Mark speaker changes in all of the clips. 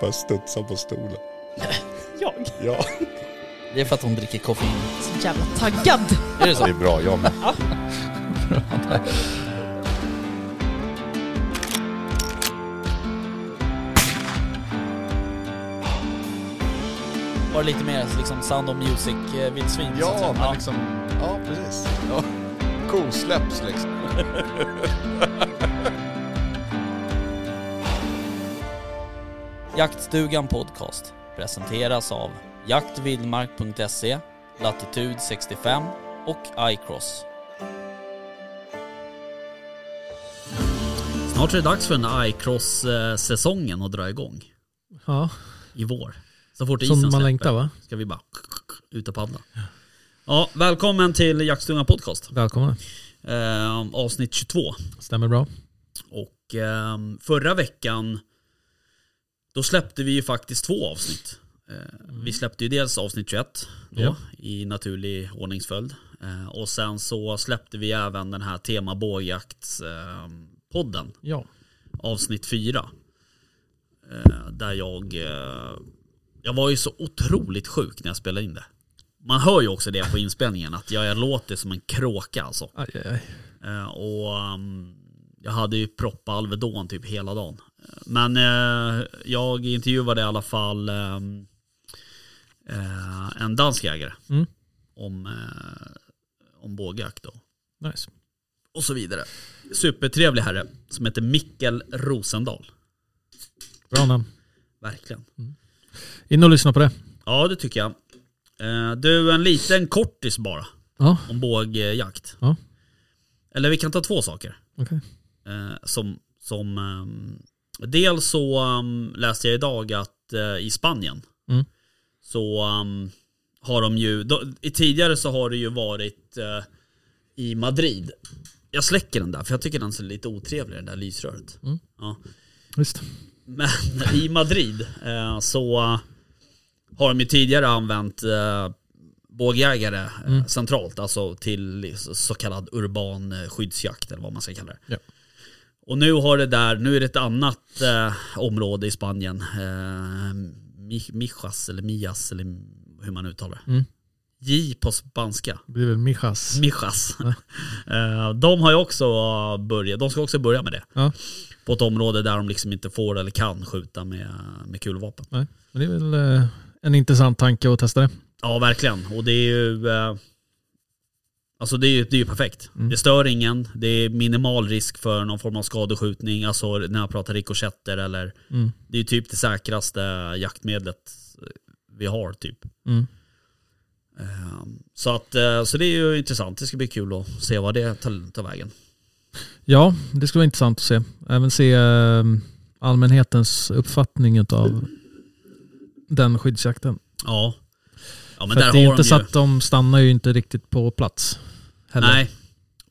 Speaker 1: Bara studsar på stolen.
Speaker 2: Jag?
Speaker 1: Ja.
Speaker 3: Det är för att hon dricker koffein.
Speaker 2: Så jävla taggad.
Speaker 3: Är det
Speaker 1: Det är
Speaker 3: så?
Speaker 1: bra, jag med.
Speaker 3: Var det lite mer liksom Sound of eh, Music-vildsvin?
Speaker 1: Ja, men liksom... Ja, precis. Ja. Kosläpps liksom.
Speaker 3: Jaktstugan Podcast presenteras av jaktvildmark.se, Latitude 65 och iCross. Snart är det dags för den iCross-säsongen att dra igång
Speaker 4: Ja,
Speaker 3: i vår. Så fort isen
Speaker 4: som man
Speaker 3: släpper
Speaker 4: längtar va?
Speaker 3: ska vi bara ut och paddla. Ja, välkommen till Jaktstugan Podcast,
Speaker 4: Välkomna.
Speaker 3: eh, avsnitt 22.
Speaker 4: Stämmer bra.
Speaker 3: Och ehm, förra veckan då släppte vi ju faktiskt två avsnitt. Eh, Vi släppte ju dels avsnitt 21 då,
Speaker 4: Ja.
Speaker 3: i naturlig ordningsföljd. Eh, och sen så släppte vi även den här tema bågjaktspodden,
Speaker 4: Ja.
Speaker 3: avsnitt 4. Eh, där jag, eh, jag var ju så otroligt sjuk när jag spelade in det. Man hör ju också det på inspelningen, att jag, jag låter som en kråka alltså.
Speaker 4: Aj, aj, aj.
Speaker 3: Eh, och ehm, jag hade ju proppa Alvedon typ hela dagen. Eh, Men eh, jag intervjuade i alla fall ehm, eh, en dansk jägare
Speaker 4: Mm.
Speaker 3: om, eh, om bågjakt då.
Speaker 4: Nice.
Speaker 3: Och så vidare. Supertrevlig herre som heter Mikkel Rosendal.
Speaker 4: Bra namn.
Speaker 3: Verkligen.
Speaker 4: In och lyssna på det.
Speaker 3: Ja det tycker jag. Eh, du en liten kortis bara
Speaker 4: Ja,
Speaker 3: om bågjakt.
Speaker 4: Ja.
Speaker 3: Eller vi kan ta två saker.
Speaker 4: okej.
Speaker 3: Eh, som, som ehm, dels så ehm, läste jag idag att eh, i Spanien
Speaker 4: Mm.
Speaker 3: så ehm, har de ju, då, i tidigare så har det ju varit eh, i Madrid. Jag släcker den där för jag tycker den ser lite otrevlig den där lysröret.
Speaker 4: Mm.
Speaker 3: Ja.
Speaker 4: Visst.
Speaker 3: Men i Madrid eh, så har de ju tidigare använt eh, bågjägare eh,
Speaker 4: Mm.
Speaker 3: centralt, alltså till så- så kallad urban eh, skyddsjakt eller vad man ska kalla det.
Speaker 4: Ja.
Speaker 3: Och nu har det där, nu är det ett annat eh, område i Spanien, eh, Mi- Mijas eller Mias eller hur man uttalar det.
Speaker 4: Mm.
Speaker 3: J på spanska.
Speaker 4: Det blir väl Mijas.
Speaker 3: Mijas. Eh, de har ju också eh, börjat, de ska också börja med det.
Speaker 4: Ja.
Speaker 3: På ett område där de liksom inte får eller kan skjuta med, med kulvapen.
Speaker 4: Nej, men det är väl eh, en intressant tanke att testa det.
Speaker 3: Ja, verkligen. Och det är ju... eh, Alltså det är ju, det är ju perfekt.
Speaker 4: Mm.
Speaker 3: Det stör ingen, det är minimal risk för någon form av skadeskjutning, alltså när jag pratar rikoschetter eller...
Speaker 4: Mm.
Speaker 3: Det är ju typ det säkraste jaktmedlet eh, vi har typ.
Speaker 4: Mm.
Speaker 3: Eh, Så, att, eh, så det är ju intressant, det ska bli kul att se vad det tar, tar vägen.
Speaker 4: Ja, det skulle vara intressant att se. Även se eh, allmänhetens uppfattning av den skyddsjakten.
Speaker 3: Ja. Ja men
Speaker 4: För
Speaker 3: där
Speaker 4: att det är
Speaker 3: har
Speaker 4: inte
Speaker 3: de
Speaker 4: så
Speaker 3: ju.
Speaker 4: att de stannar ju inte riktigt på plats. Heller.
Speaker 3: Nej,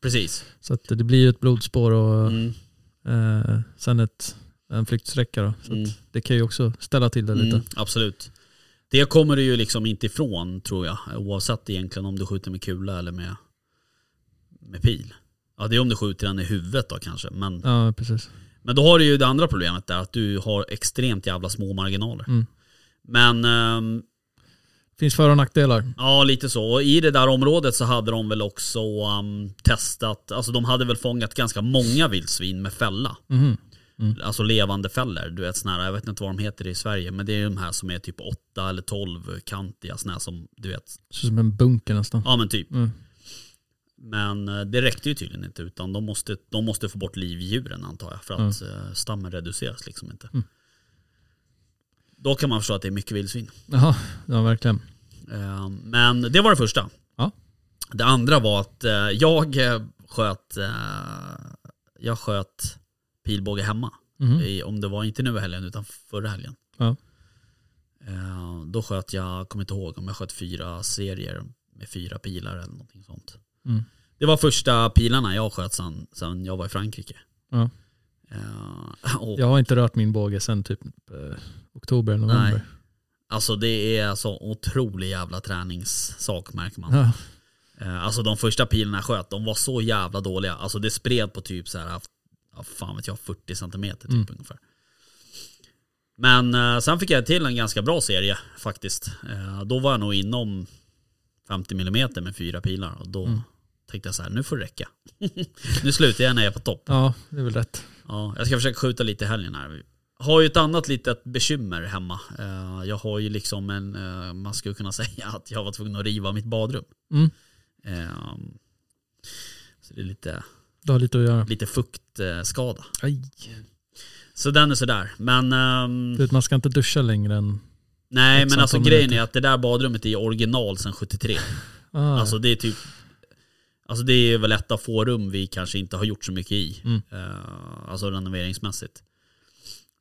Speaker 3: precis.
Speaker 4: Så att det blir ju ett blodspår och
Speaker 3: Mm.
Speaker 4: eh, sen ett, en flyktsträcka. Då. Så
Speaker 3: Mm.
Speaker 4: att det kan ju också ställa till det lite.
Speaker 3: Mm, absolut. Det kommer du ju liksom inte ifrån tror jag. Oavsett egentligen om du skjuter med kula eller med, med pil. Ja det är om du skjuter den i huvudet då kanske. Men,
Speaker 4: Ja, precis.
Speaker 3: men då har du ju det andra problemet där. Att du har extremt jävla små marginaler.
Speaker 4: Mm.
Speaker 3: Men ehm,
Speaker 4: Finns för och nackdelar.
Speaker 3: ja lite så. Och i det där området så hade de väl också ehm, testat. Alltså de hade väl fångat ganska många vildsvin med fälla.
Speaker 4: Mhm.
Speaker 3: Alltså levande fäller, du vet såna här, jag vet inte vad de heter i Sverige, men det är de här som är typ 8 eller 12 kantiga såna här som du vet.
Speaker 4: Så som en bunker nästan.
Speaker 3: Ja men typ.
Speaker 4: Mm.
Speaker 3: Men eh, det räckte ju tydligen inte utan de måste, de måste få bort livdjuren antar jag för att eh, stammen reduceras liksom inte.
Speaker 4: Mm.
Speaker 3: Då kan man förstå att det är mycket vildsvin.
Speaker 4: Jaha, ja verkligen.
Speaker 3: Eh, Men det var det första.
Speaker 4: Ja.
Speaker 3: Det andra var att eh, jag eh, sköt, eh, jag sköt pilbåge hemma.
Speaker 4: Mhm.
Speaker 3: i, om det var inte nu i helgen utan förra helgen.
Speaker 4: Ja.
Speaker 3: Eh, då sköt jag, kommer inte ihåg om jag sköt fyra serier med fyra pilar eller någonting sånt.
Speaker 4: Mm.
Speaker 3: Det var första pilarna jag sköt sen, sen jag var i Frankrike.
Speaker 4: Ja.
Speaker 3: Eh, och,
Speaker 4: Jag har inte rört min båge sen typ eh, oktober eller november.
Speaker 3: Nej. Alltså det är så otrolig jävla träningssak märker man.
Speaker 4: Ja.
Speaker 3: Eh, Alltså de första pilarna jag sköt, de var så jävla dåliga. Alltså det spred på typ så här, ja, fan vet jag, 40 centimeter typ
Speaker 4: Mm.
Speaker 3: ungefär. Men eh, sen fick jag till en ganska bra serie faktiskt. Eh, då var jag nog inom 50 mm med fyra pilar och då tänkte jag så här, nu får det räcka. nu slutar jag när jag är på topp.
Speaker 4: Ja, det är väl rätt.
Speaker 3: Ja, jag ska försöka skjuta lite i helgen här. Har ju ett annat litet bekymmer hemma. Eh, Jag har ju liksom en, eh, man skulle kunna säga att jag var tvungen att riva mitt badrum.
Speaker 4: Mm.
Speaker 3: Eh, Så det är lite,
Speaker 4: Du har lite att göra.
Speaker 3: lite fuktskada.
Speaker 4: Aj.
Speaker 3: Så den är sådär. Men ehm,
Speaker 4: Du vet, man ska inte duscha längre än...
Speaker 3: nej, men
Speaker 4: antal
Speaker 3: alltså grejen är
Speaker 4: minuter.
Speaker 3: att det där badrummet är original sedan 73.
Speaker 4: Ah,
Speaker 3: Alltså det är typ Alltså det är väl ett av få rum vi kanske inte har gjort så mycket i.
Speaker 4: Mm.
Speaker 3: Eh, alltså renoveringsmässigt.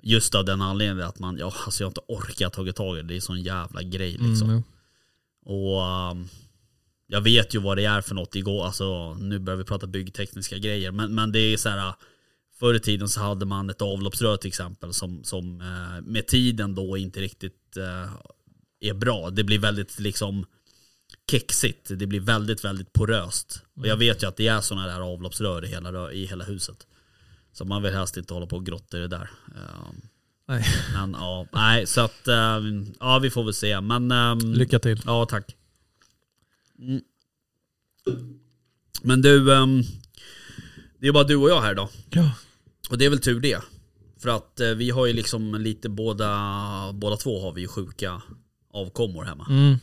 Speaker 3: Just av den anledningen att man, ja alltså jag har inte orkat tagit tag i det. Det är sån jävla grej
Speaker 4: mm,
Speaker 3: liksom.
Speaker 4: jo.
Speaker 3: Och ehm, jag vet ju vad det är för något igår. Alltså nu börjar vi prata byggtekniska grejer. Men, men det är så här. uh, Förr i tiden så hade man ett avloppsrör till exempel som, som eh, med tiden då inte riktigt eh, är bra. Det blir väldigt liksom kexigt. Det blir väldigt, väldigt poröst. Och jag vet ju att det är sådana där avloppsrör i hela, rö- i hela huset. Så man vill helst inte hålla på och grotta i det där. Ehm,
Speaker 4: Nej.
Speaker 3: Men ja, nej, så att ehm, ja, vi får väl se. Men ehm,
Speaker 4: Lycka till.
Speaker 3: Ja, tack. Men du, ehm, det är bara du och jag här då.
Speaker 4: Ja.
Speaker 3: Och det är väl tur det. För att eh, vi har ju liksom lite båda, båda två har vi ju sjuka avkommor hemma.
Speaker 4: Mm.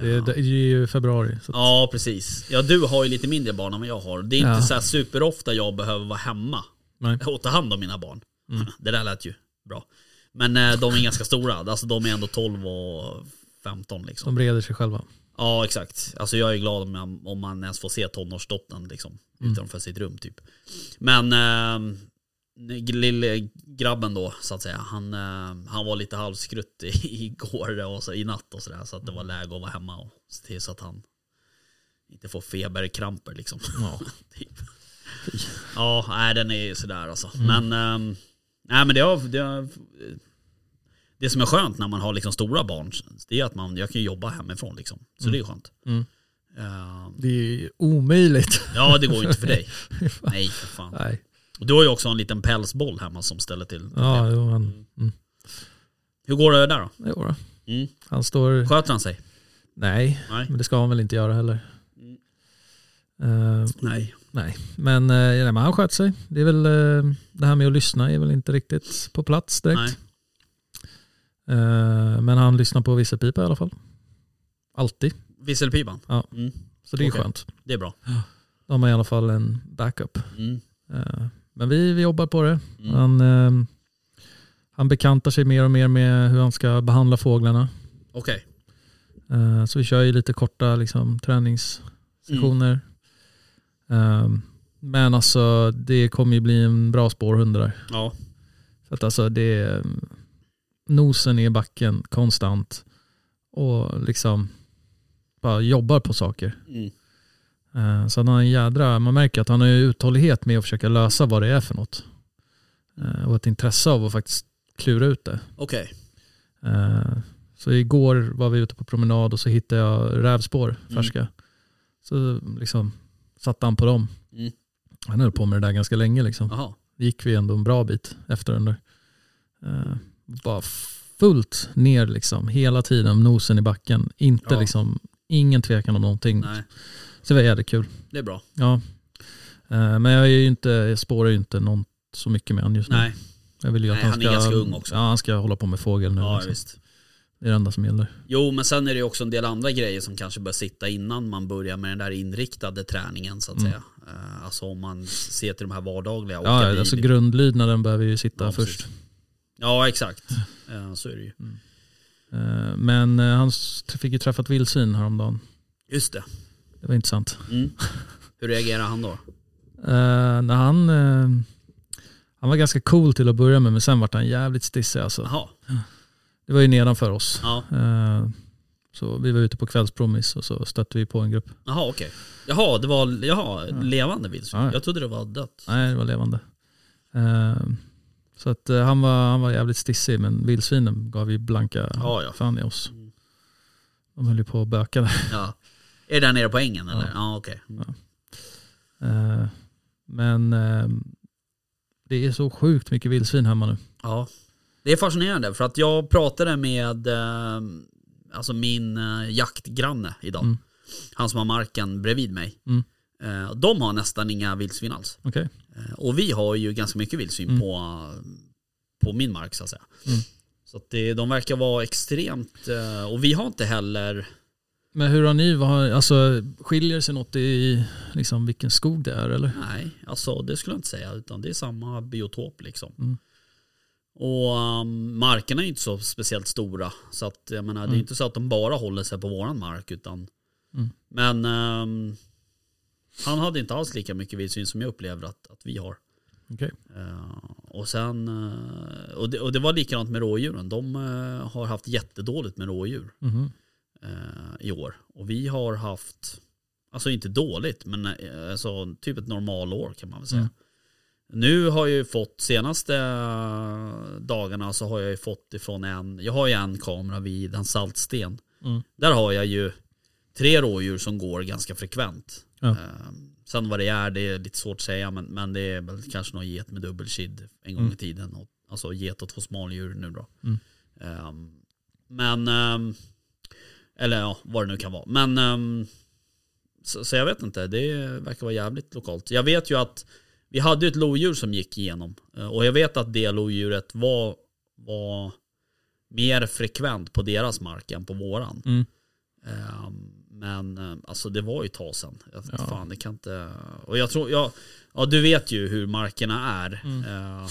Speaker 4: Det,
Speaker 3: Ja.
Speaker 4: är, det är ju februari. Så.
Speaker 3: Ja, precis. Ja, du har ju lite mindre barn än vad jag har. Det är inte
Speaker 4: Ja.
Speaker 3: så här superofta jag behöver vara hemma
Speaker 4: Nej.
Speaker 3: och ta hand om mina barn. Det där lät ju bra. Men eh, de är ganska stora. Alltså de är ändå 12 och 15 liksom.
Speaker 4: De breder sig själva.
Speaker 3: Ja exakt. Alltså jag är glad om, jag, om man ens får se tonårsdottern liksom, utanför sitt rum typ. Men eh, lille grabben då så att säga, han, eh, han var lite halvskrutt i- igår och så, i natt och sådär. Så att det var läge att vara hemma och se till så att han inte får feberkramper liksom.
Speaker 4: Ja.
Speaker 3: typ. Ja, nej den är ju sådär alltså. Men, ehm, nej, men det, har, det, har, det som är skönt när man har liksom stora barn, det är att man, jag kan ju jobba hemifrån liksom. Så det är skönt.
Speaker 4: Mm.
Speaker 3: Ehm,
Speaker 4: Det är ju omöjligt.
Speaker 3: ja, det går ju inte för dig. Nej, för fan.
Speaker 4: Nej.
Speaker 3: Och Du har ju också en liten pälsboll hemma som ställer till.
Speaker 4: Ja, jo, han, mm.
Speaker 3: Hur går det där då?
Speaker 4: jo då.
Speaker 3: Mm.
Speaker 4: Han står...
Speaker 3: Sköter han sig?
Speaker 4: Nej,
Speaker 3: Nej. Mm.
Speaker 4: men det ska han väl inte göra heller. Eh,
Speaker 3: Nej.
Speaker 4: nej, men, eh, nej, men han sköt sig. Det, är väl, eh, det här med att lyssna är väl inte riktigt på plats direkt.
Speaker 3: Nej.
Speaker 4: Eh, men han lyssnar på visselpipa i alla fall. Alltid.
Speaker 3: Visselpipan?
Speaker 4: Ja.
Speaker 3: Mm.
Speaker 4: Så det är
Speaker 3: Okej.
Speaker 4: skönt.
Speaker 3: Det är bra.
Speaker 4: Då har man i alla fall en backup.
Speaker 3: Mm.
Speaker 4: Eh, men vi, vi jobbar på det.
Speaker 3: Mm.
Speaker 4: Han, eh, han bekantar sig mer och mer med hur han ska behandla fåglarna.
Speaker 3: Okej.
Speaker 4: Eh, så vi kör ju lite korta liksom, träningssessioner. Eh, men alltså det kommer ju bli en bra spårhund det där.
Speaker 3: Ja.
Speaker 4: Så att alltså det är, nosen är i backen konstant och liksom bara jobbar på saker.
Speaker 3: Mm.
Speaker 4: Eh, Så han har en jädra, man märker att han har ju uthållighet med att försöka lösa vad det är för något. Eh, Och ett intresse av att faktiskt klura ut det.
Speaker 3: Okej.
Speaker 4: Eh, Så igår var vi ute på promenad och så hittade jag rävspår,
Speaker 3: Mm.
Speaker 4: färska. Så liksom satte han på dem.
Speaker 3: Mm.
Speaker 4: Han höll på med det där ganska länge liksom.
Speaker 3: Jaha.
Speaker 4: Gick vi ändå en bra bit efter den där. Eh, Bara fullt ner liksom, hela tiden, nosen i backen. Inte
Speaker 3: Ja.
Speaker 4: liksom, ingen tvekan om någonting.
Speaker 3: Nej.
Speaker 4: Så det var jävligt kul.
Speaker 3: Det är bra.
Speaker 4: Ja. Eh, Men jag, är ju inte, jag spårar ju inte någon så mycket med han just nu.
Speaker 3: Nej.
Speaker 4: jag vill ju att
Speaker 3: Nej,
Speaker 4: han,
Speaker 3: han är
Speaker 4: ska,
Speaker 3: ganska ung också.
Speaker 4: Ja, han ska hålla på med fågel nu.
Speaker 3: Ja,
Speaker 4: liksom.
Speaker 3: visst.
Speaker 4: Det är det enda som gäller.
Speaker 3: Jo, men sen är det ju också en del andra grejer som kanske bör sitta innan man börjar med den där inriktade träningen så att säga. Eh, Alltså om man ser till de här vardagliga. åka
Speaker 4: Mm. Ja,
Speaker 3: bil.
Speaker 4: alltså grundlydnaden behöver ju sitta
Speaker 3: Ja, precis.
Speaker 4: först.
Speaker 3: ja, exakt. Eh, Så är det ju.
Speaker 4: Eh, Men eh, han s- fick ju träffa ett vildsvin häromdagen.
Speaker 3: Just det.
Speaker 4: Det var intressant.
Speaker 3: Mm. Hur reagerar han då?
Speaker 4: Eh, när han, eh, han var ganska cool till att börja med men sen vart han jävligt stissig alltså.
Speaker 3: Jaha,
Speaker 4: Det var ju nedanför oss.
Speaker 3: ja.
Speaker 4: Eh, så vi var ute på kvällspromis och så stötte vi på en grupp.
Speaker 3: Jaha okej. Jaha, det var jaha, levande vildsvin.
Speaker 4: Ja, ja.
Speaker 3: Jag trodde det var dött.
Speaker 4: Nej, det var levande. Eh, så att eh, han, var, han var jävligt stissig men vildsvinen gav ju blanka
Speaker 3: Ja, Mm. ja.
Speaker 4: fan i oss. De höll ju på att böka där.
Speaker 3: Ja. Är det där nere på ängen eller? Ja, okej.
Speaker 4: Eh, ehm, men eh, det är så sjukt mycket vildsvin hemma nu.
Speaker 3: Ja, Det är fascinerande för att jag pratade med eh, alltså min eh, jaktgranne idag.
Speaker 4: Mm.
Speaker 3: Han som har marken bredvid mig.
Speaker 4: Mm.
Speaker 3: Eh, de har nästan inga vildsvin alls.
Speaker 4: Okej.
Speaker 3: Eh, och vi har ju ganska mycket vildsvin
Speaker 4: Mm.
Speaker 3: på, på min mark så att säga.
Speaker 4: Mm.
Speaker 3: Så att det, de verkar vara extremt, eh, och vi har inte heller,
Speaker 4: Men hur har ni, vad har, alltså skiljer sig något i liksom, vilken skog det är eller?
Speaker 3: nej, alltså det skulle jag inte säga, utan det är samma biotop liksom.
Speaker 4: Mm.
Speaker 3: Och um, markerna är inte så speciellt stora. Så att jag menar, det
Speaker 4: Mm.
Speaker 3: är inte så att de bara håller sig på våran mark utan
Speaker 4: Mm.
Speaker 3: Men ehm, han hade inte alls lika mycket vildsvin som jag upplever att, att vi har.
Speaker 4: Okej.
Speaker 3: Eh, och sen, eh, och, det, och det var likadant med rådjuren. De eh, har haft jättedåligt med rådjur
Speaker 4: Mhm.
Speaker 3: eh, i år. Och vi har haft, alltså inte dåligt, men eh, alltså, typ ett normalår kan man väl säga.
Speaker 4: Mm.
Speaker 3: Nu har jag ju fått, senaste dagarna så har jag ju fått ifrån en, jag har ju en kamera vid en saltsten.
Speaker 4: Mm.
Speaker 3: Där har jag ju tre rådjur som går ganska frekvent.
Speaker 4: Ja.
Speaker 3: Eh, sen vad det är, det är lite svårt att säga, men, men det är väl kanske någon get med dubbelkid en gång
Speaker 4: Mm.
Speaker 3: i tiden. Och, alltså get och två smaldjur nu då.
Speaker 4: Mm.
Speaker 3: Ehm, men, ehm, eller ja, vad det nu kan vara. Men, ehm, så, så jag vet inte, det verkar vara jävligt lokalt. Jag vet ju att vi hade ju ett lodjur som gick igenom. eh, Och jag vet att det lodjuret var, var mer frekvent på deras mark än på våran.
Speaker 4: Mm.
Speaker 3: Ehm, Men eh, alltså det var ju ett tag sedan. Jag,
Speaker 4: Ja.
Speaker 3: Fan, det kan inte... Och jag tror, ja, ja du vet ju hur markerna är.
Speaker 4: Mm.
Speaker 3: Eh,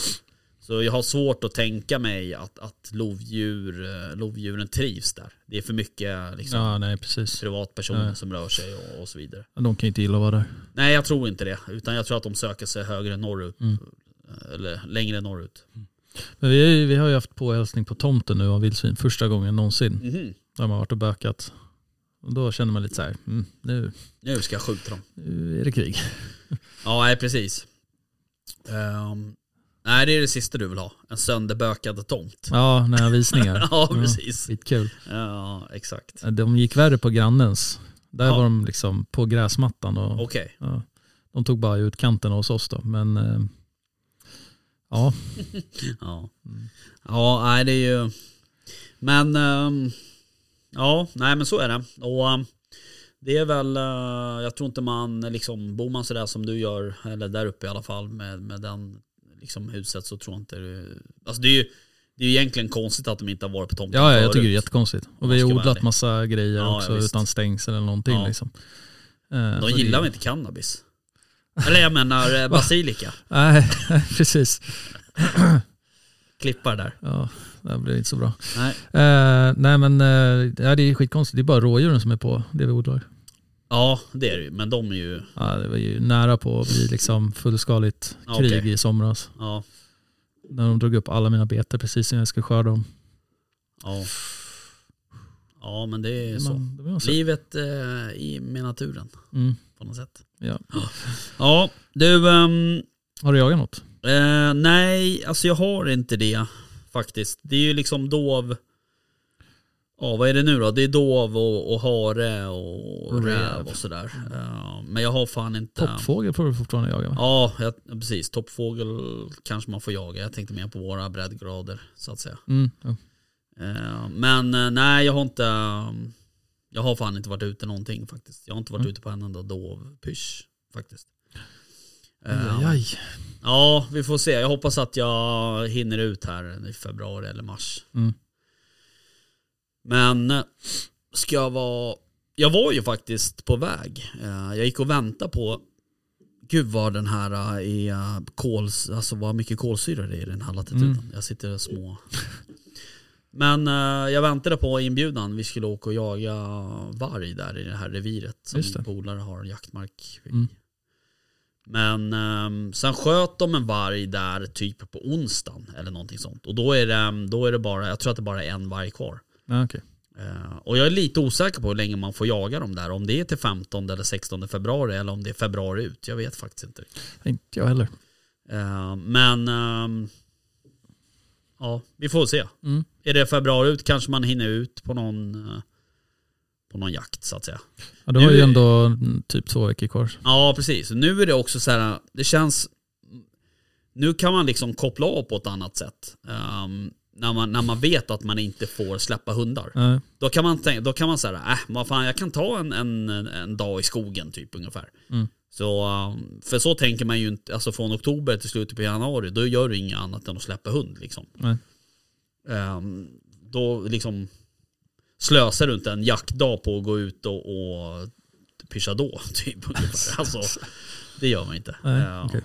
Speaker 3: Så jag har svårt att tänka mig att, att lovdjur, eh, lovdjuren trivs där. Det är för mycket liksom,
Speaker 4: Ja, nej precis.
Speaker 3: privatpersoner
Speaker 4: Nej.
Speaker 3: som rör sig och, och så vidare.
Speaker 4: De kan ju inte gilla att vara där.
Speaker 3: Nej, jag tror inte det. Utan jag tror att de söker sig högre norrut. eh,
Speaker 4: Mm.
Speaker 3: Eller längre norrut.
Speaker 4: Men vi, har ju- vi har ju haft påhälsning på tomten nu av vildsvin första gången någonsin. Där man har varit och bökat. Och då känner man lite så här, mm, nu,
Speaker 3: Nu ska jag skjuta dem.
Speaker 4: nu är det krig.
Speaker 3: Ja, nej, precis. Ehm, nej, det är det sista du vill ha. En sönderbökad tomt.
Speaker 4: Ja, när visningar. Mm.
Speaker 3: Ja, precis.
Speaker 4: Skitkul.
Speaker 3: Ja, exakt.
Speaker 4: De gick värre på grannens. Där
Speaker 3: Ja.
Speaker 4: var de liksom på gräsmattan. Och,
Speaker 3: Okej.
Speaker 4: ja, de tog bara ut kanten hos oss då. Men eh, ja,
Speaker 3: Ja.
Speaker 4: Mm.
Speaker 3: ja, nej det är ju... Men... ehm, ja, nej men så är det. Och ehm, det är väl... eh, jag tror inte man liksom... Bor man sådär som du gör, eller där uppe i alla fall med, med den liksom huset så tror jag inte du... Alltså det är ju... Det är ju egentligen konstigt att de inte har varit på tomten
Speaker 4: ja, ja jag
Speaker 3: förut.
Speaker 4: tycker det är jättekonstigt. Och
Speaker 3: Man
Speaker 4: vi
Speaker 3: ska
Speaker 4: har
Speaker 3: vara
Speaker 4: odlat
Speaker 3: ärlig.
Speaker 4: massa grejer
Speaker 3: Ja, ja,
Speaker 4: också
Speaker 3: visst.
Speaker 4: utan stängsel eller någonting.
Speaker 3: Ja.
Speaker 4: Liksom. Eh,
Speaker 3: De
Speaker 4: så
Speaker 3: gillar
Speaker 4: det-
Speaker 3: väl inte cannabis? Eller jag menar eh, basilika.
Speaker 4: Nej, precis.
Speaker 3: Klippar där.
Speaker 4: Ja, det här blev inte så bra.
Speaker 3: Nej.
Speaker 4: Eh, nej men eh, ja, det är skitkonstigt. Det är bara rådjuren som är på det vi odlar.
Speaker 3: Ja, det är det ju. Men de är ju...
Speaker 4: Ja, det var ju nära på att bli liksom fullskaligt
Speaker 3: Ja,
Speaker 4: krig
Speaker 3: okej.
Speaker 4: i somras.
Speaker 3: Ja,
Speaker 4: När de drog upp alla mina betor precis innan jag skulle skörda dem.
Speaker 3: ja. Ja, men det är så.
Speaker 4: Men det var så.
Speaker 3: Livet eh, i med naturen
Speaker 4: Mm.
Speaker 3: på något sätt.
Speaker 4: Ja.
Speaker 3: Ja, du. ehm,
Speaker 4: Har du jagat något?
Speaker 3: eh, nej, alltså jag har inte det faktiskt. Det är ju liksom dov. Ja, vad är det nu då? Det är dov och, och hare och
Speaker 4: Räv.
Speaker 3: räv och sådär. Eh, men jag har fan inte.
Speaker 4: Toppfågel får du fortfarande jaga va?
Speaker 3: Ja, jag, precis. Toppfågel kanske man får jaga. Jag tänkte mer på våra breddgrader så att säga.
Speaker 4: Mm, ja.
Speaker 3: Eh, men eh, nej, jag har inte. ehm, Jag har fan inte varit ute någonting faktiskt. Jag har inte varit
Speaker 4: Mm.
Speaker 3: ute på en enda dovpysch faktiskt.
Speaker 4: Aj,
Speaker 3: Ehm,
Speaker 4: aj, aj.
Speaker 3: Ja, vi får se. Jag hoppas att jag hinner ut här i februari eller mars.
Speaker 4: Mm.
Speaker 3: Men eh, ska jag vara... Jag var ju faktiskt på väg. Eh, Jag gick och väntade på... Gud vad den här eh, är kols... Alltså vad mycket kolsyra det är i den här latituden.
Speaker 4: Mm.
Speaker 3: Jag sitter och små... Men eh, jag väntade på inbjudan. Vi skulle åka och jaga varg där i det här reviret som
Speaker 4: Just det.
Speaker 3: min polare har jaktmark vid.
Speaker 4: Mm.
Speaker 3: Men ehm, sen sköt de en varg där typ på onsdagen eller någonting sånt. Och då är det, ehm, då är det bara, jag tror att det bara är en varg kvar.
Speaker 4: Ja, okej.
Speaker 3: Eh, och jag är lite osäker på hur länge man får jaga dem där. Om det är till 15 eller 16 februari eller om det är februari ut. Jag vet faktiskt inte.
Speaker 4: Inte jag heller.
Speaker 3: Eh, men ehm, ja, vi får se.
Speaker 4: Mm.
Speaker 3: Är det februari ut kanske man hinner ut på någon, eh, på någon jakt så att säga.
Speaker 4: Ja, du
Speaker 3: Nu
Speaker 4: har ju
Speaker 3: är-
Speaker 4: ändå mm, typ två veckor kvar.
Speaker 3: Ja, precis. Nu är det också så här, det känns... Nu kan man liksom koppla av på ett annat sätt. Ehm, när man, när man vet att man inte får släppa hundar.
Speaker 4: Nej.
Speaker 3: Då kan man tänka, då kan man säga, äh, vad fan, jag kan ta en, en, en dag i skogen typ ungefär.
Speaker 4: Mm.
Speaker 3: Så, um, för så tänker man ju inte, alltså från oktober till slutet på januari, då gör du inget annat än att släppa hund liksom.
Speaker 4: Nej.
Speaker 3: Ehm, då liksom slösar du inte en jaktdag på att gå ut och, och pyscha då typ ungefär. Alltså, det gör man inte.
Speaker 4: Nej,
Speaker 3: Ehm,
Speaker 4: okej.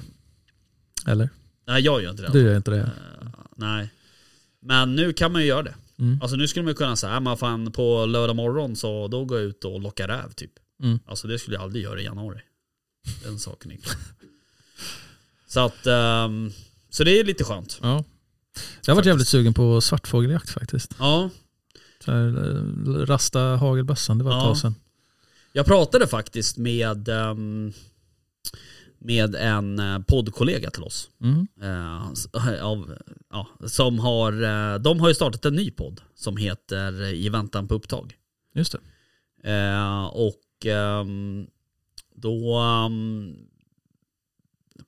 Speaker 4: Eller?
Speaker 3: nej jag gör inte det.
Speaker 4: Du gör inte det?
Speaker 3: Eh, nej. Men nu kan man ju göra det.
Speaker 4: Mm.
Speaker 3: Alltså nu skulle man ju kunna säga, "Ah, men fan på lördag morgon så då går jag ut och lockar räv typ.
Speaker 4: Mm.
Speaker 3: Alltså det skulle jag aldrig göra i januari. Den saken är klar. Så att, ehm, så det är lite skönt.
Speaker 4: Ja. Jag har varit
Speaker 3: Faktiskt.
Speaker 4: jävligt sugen på svartfågeljakt faktiskt.
Speaker 3: Ja,
Speaker 4: Så här, eh, rasta hagelbössan, det var ett
Speaker 3: Ja.
Speaker 4: tag sedan.
Speaker 3: jag pratade faktiskt med, ehm, med en eh, poddkollega till oss.
Speaker 4: Mm.
Speaker 3: Eh, s- av, ja, som har, eh, de har ju startat en ny podd som heter eh, I väntan på upptag.
Speaker 4: Just det.
Speaker 3: Eh, och ehm, då ehm,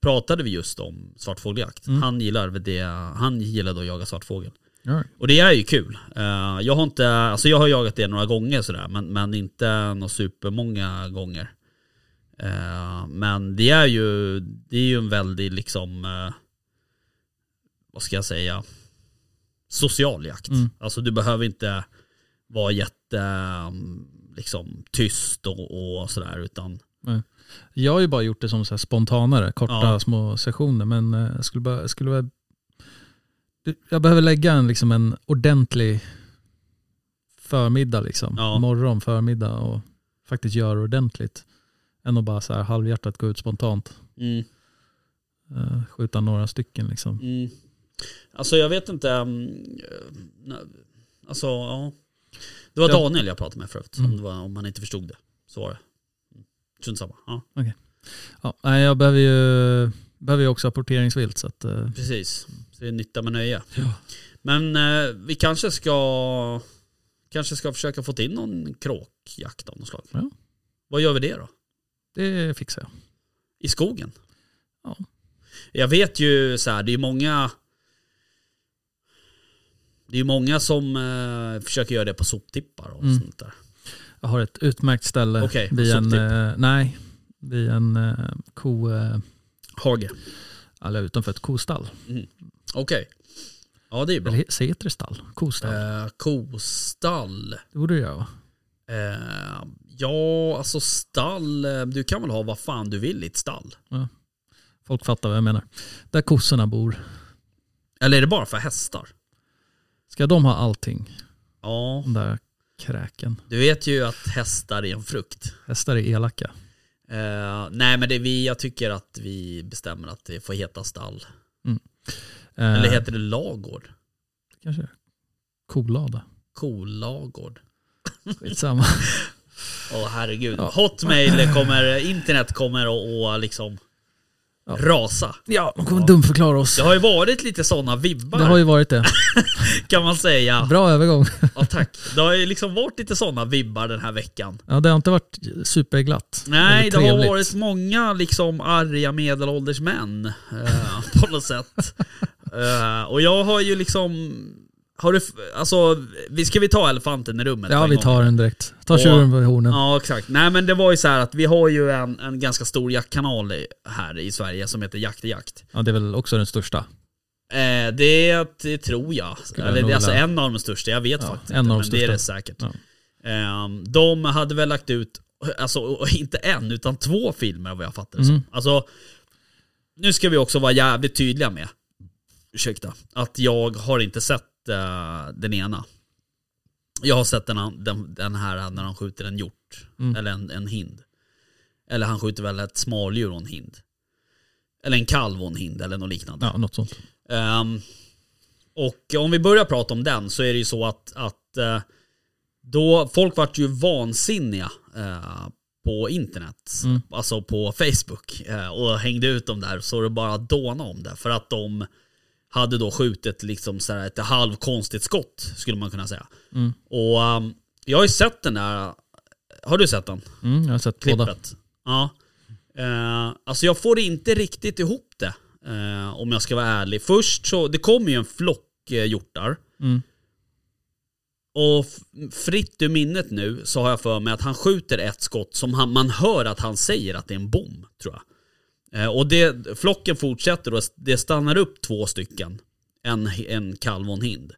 Speaker 3: pratade vi just om svartfågeljakt.
Speaker 4: Mm.
Speaker 3: Han gillar det, han gillade att jaga svartfågel.
Speaker 4: Ja.
Speaker 3: Och det är ju kul. Eh, jag har inte, alltså jag har jagat det några gånger sådär, men, men inte några supermånga gånger. Eh, men det är ju, det är ju en väldigt liksom, eh, vad ska jag säga, social jakt.
Speaker 4: Mm.
Speaker 3: Alltså du behöver inte vara jätte, mm, liksom tyst och, och sådär utan,
Speaker 4: Jag har ju bara gjort det som så här spontanare, korta
Speaker 3: Ja.
Speaker 4: små sessioner. Men eh, jag skulle bara, jag skulle bara, Du, jag behöver lägga en, liksom en ordentlig förmiddag, liksom.
Speaker 3: Ja.
Speaker 4: morgon, förmiddag och faktiskt göra ordentligt. Än att bara så här halvhjärtat gå ut spontant,
Speaker 3: mm,
Speaker 4: eh, skjuta några stycken. Liksom.
Speaker 3: mm. Alltså jag vet inte, mm, eh, alltså ja. Det var
Speaker 4: Ja.
Speaker 3: Daniel jag pratade med förut, om,
Speaker 4: Mm.
Speaker 3: det var, om han inte förstod det. Så var det. Mm. Strunt samma. Ja,
Speaker 4: Ja, nej, jag behöver ju, behöver ju också apporteringsvilt. Så att, eh,
Speaker 3: precis. Så det är nytta med nöje.
Speaker 4: Ja.
Speaker 3: Men eh, vi kanske ska, kanske ska försöka få till någon kråkjakt av något slag.
Speaker 4: Ja.
Speaker 3: Vad gör vi det då?
Speaker 4: det fixar jag.
Speaker 3: I skogen?
Speaker 4: Ja.
Speaker 3: Jag vet ju så här, det är många Det är många som eh, försöker göra det på soptippar och
Speaker 4: Mm.
Speaker 3: sånt där.
Speaker 4: Jag har ett utmärkt ställe
Speaker 3: Okej,
Speaker 4: vid, en,
Speaker 3: soptipp.
Speaker 4: eh, nej, vid en eh, ko... Eh,
Speaker 3: Hage.
Speaker 4: Eller utanför ett kostall.
Speaker 3: Okej. Ja det är bra.
Speaker 4: Eller he- säg heter det stall? Kostall?
Speaker 3: Eh, kostall.
Speaker 4: Det borde det göra va?
Speaker 3: Eh, ja, alltså stall. eh, Du kan väl ha vad fan du vill i ett stall?
Speaker 4: Folk fattar vad jag menar. Där kossorna bor.
Speaker 3: Eller är det bara för hästar?
Speaker 4: Ska de ha allting?
Speaker 3: Ja,
Speaker 4: De där kräken.
Speaker 3: du vet ju att hästar är en frukt.
Speaker 4: Hästar är elaka.
Speaker 3: Eh, nej men det är vi, jag tycker att vi bestämmer att det får heta stall.
Speaker 4: Eh,
Speaker 3: Eller heter det lagård?
Speaker 4: kanske det. Kolada.
Speaker 3: Kolagård. Mm.
Speaker 4: Skitsamma.
Speaker 3: Åh herregud.
Speaker 4: Ja.
Speaker 3: Hotmail kommer, internet kommer och, och liksom
Speaker 4: Ja.
Speaker 3: rasa.
Speaker 4: ja, de kommer dumförklara oss.
Speaker 3: Det har ju varit lite sådana
Speaker 4: Det
Speaker 3: vibbar
Speaker 4: har ju varit det.
Speaker 3: kan man säga.
Speaker 4: Bra övergång.
Speaker 3: Ja, tack. Det har ju liksom varit lite sådana vibbar den här veckan.
Speaker 4: Ja, det har inte varit superglatt.
Speaker 3: Nej,
Speaker 4: Eller
Speaker 3: det har
Speaker 4: trevligt.
Speaker 3: varit många liksom arga medelålders män eh, på något sätt. Eh, och jag har ju liksom, har du, f- alltså, vi- ska vi ta elefanten i rummet? på
Speaker 4: Ja,
Speaker 3: en
Speaker 4: vi
Speaker 3: gång?
Speaker 4: tar den direkt. Ta
Speaker 3: Och-
Speaker 4: tjuren på hornen.
Speaker 3: Ja, exakt. Nej, men det var ju så här att vi har ju en, en ganska stor jaktkanal i- här i Sverige som heter Jakt i Jakt.
Speaker 4: Ja, det är väl också den största.
Speaker 3: Eh, det, det tror jag.
Speaker 4: Skulle jag
Speaker 3: Eller, det
Speaker 4: nog
Speaker 3: är alltså
Speaker 4: vilja-
Speaker 3: en av de största, jag vet
Speaker 4: Ja,
Speaker 3: faktiskt
Speaker 4: en
Speaker 3: inte.
Speaker 4: av
Speaker 3: Men
Speaker 4: de
Speaker 3: det är
Speaker 4: största.
Speaker 3: det säkert.
Speaker 4: Ja.
Speaker 3: Ehm, de hade väl lagt ut, alltså och inte en, utan två filmer vad jag fattar det
Speaker 4: Mm.
Speaker 3: som. Alltså, nu ska vi också vara jävligt tydliga med, ursäkta, att jag har inte sett eh, den ena. Jag har sett den, an- den, den här när han skjuter en hjort,
Speaker 4: Mm.
Speaker 3: eller en, en hind. Eller han skjuter väl ett smaldjur och en hind. Eller en kalv och en hind eller något liknande.
Speaker 4: Ja, något sånt.
Speaker 3: Ehm, och om vi börjar prata om den så är det ju så att, att eh, då, folk vart ju vansinniga eh, på internet,
Speaker 4: Mm.
Speaker 3: alltså på Facebook eh, och hängde ut dem där så det bara dåna om det för att de hade då skjutit liksom så här ett halvkonstigt skott skulle man kunna säga.
Speaker 4: Mm.
Speaker 3: Och ehm, jag har ju sett den där, har du sett den?
Speaker 4: Mm, jag har sett båda.
Speaker 3: klippet. Ja. Eh, alltså jag får inte riktigt ihop det. Eh, om jag ska vara ärlig. Först så, det kommer ju en flock eh, hjortar.
Speaker 4: Mm.
Speaker 3: Och f- fritt ur minnet nu så har jag för mig att han skjuter ett skott som han, man hör att han säger att det är en bom, tror jag. Eh, och det, flocken fortsätter och det stannar upp två stycken. En, en kalv och en hind.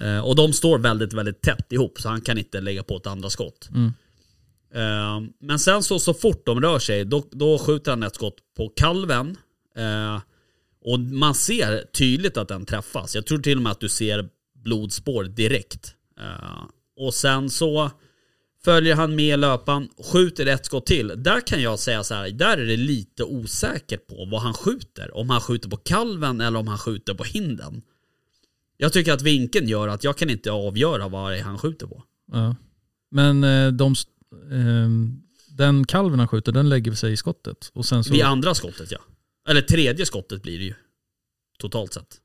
Speaker 3: Eh, och de står väldigt, väldigt tätt ihop så han kan inte lägga på ett andra skott.
Speaker 4: Mm.
Speaker 3: Eh, men sen så, så fort de rör sig, då, då skjuter han ett skott på kalven. Eh, och man ser tydligt att den träffas. Jag tror till och med att du ser blodspår direkt. Eh, och sen så följer han med löpan, skjuter ett skott till. Där kan jag säga så här, där är det lite osäkert på vad han skjuter. Om han skjuter på kalven eller om han skjuter på hinden. Jag tycker att vinkeln gör att jag kan inte avgöra vad det är han skjuter på.
Speaker 4: Ja. Men eh, de, st- ehm, den kalven han skjuter, den lägger sig i skottet. Och sen så,
Speaker 3: Vid andra skottet ja. Eller tredje skottet blir det ju. Totalt sett.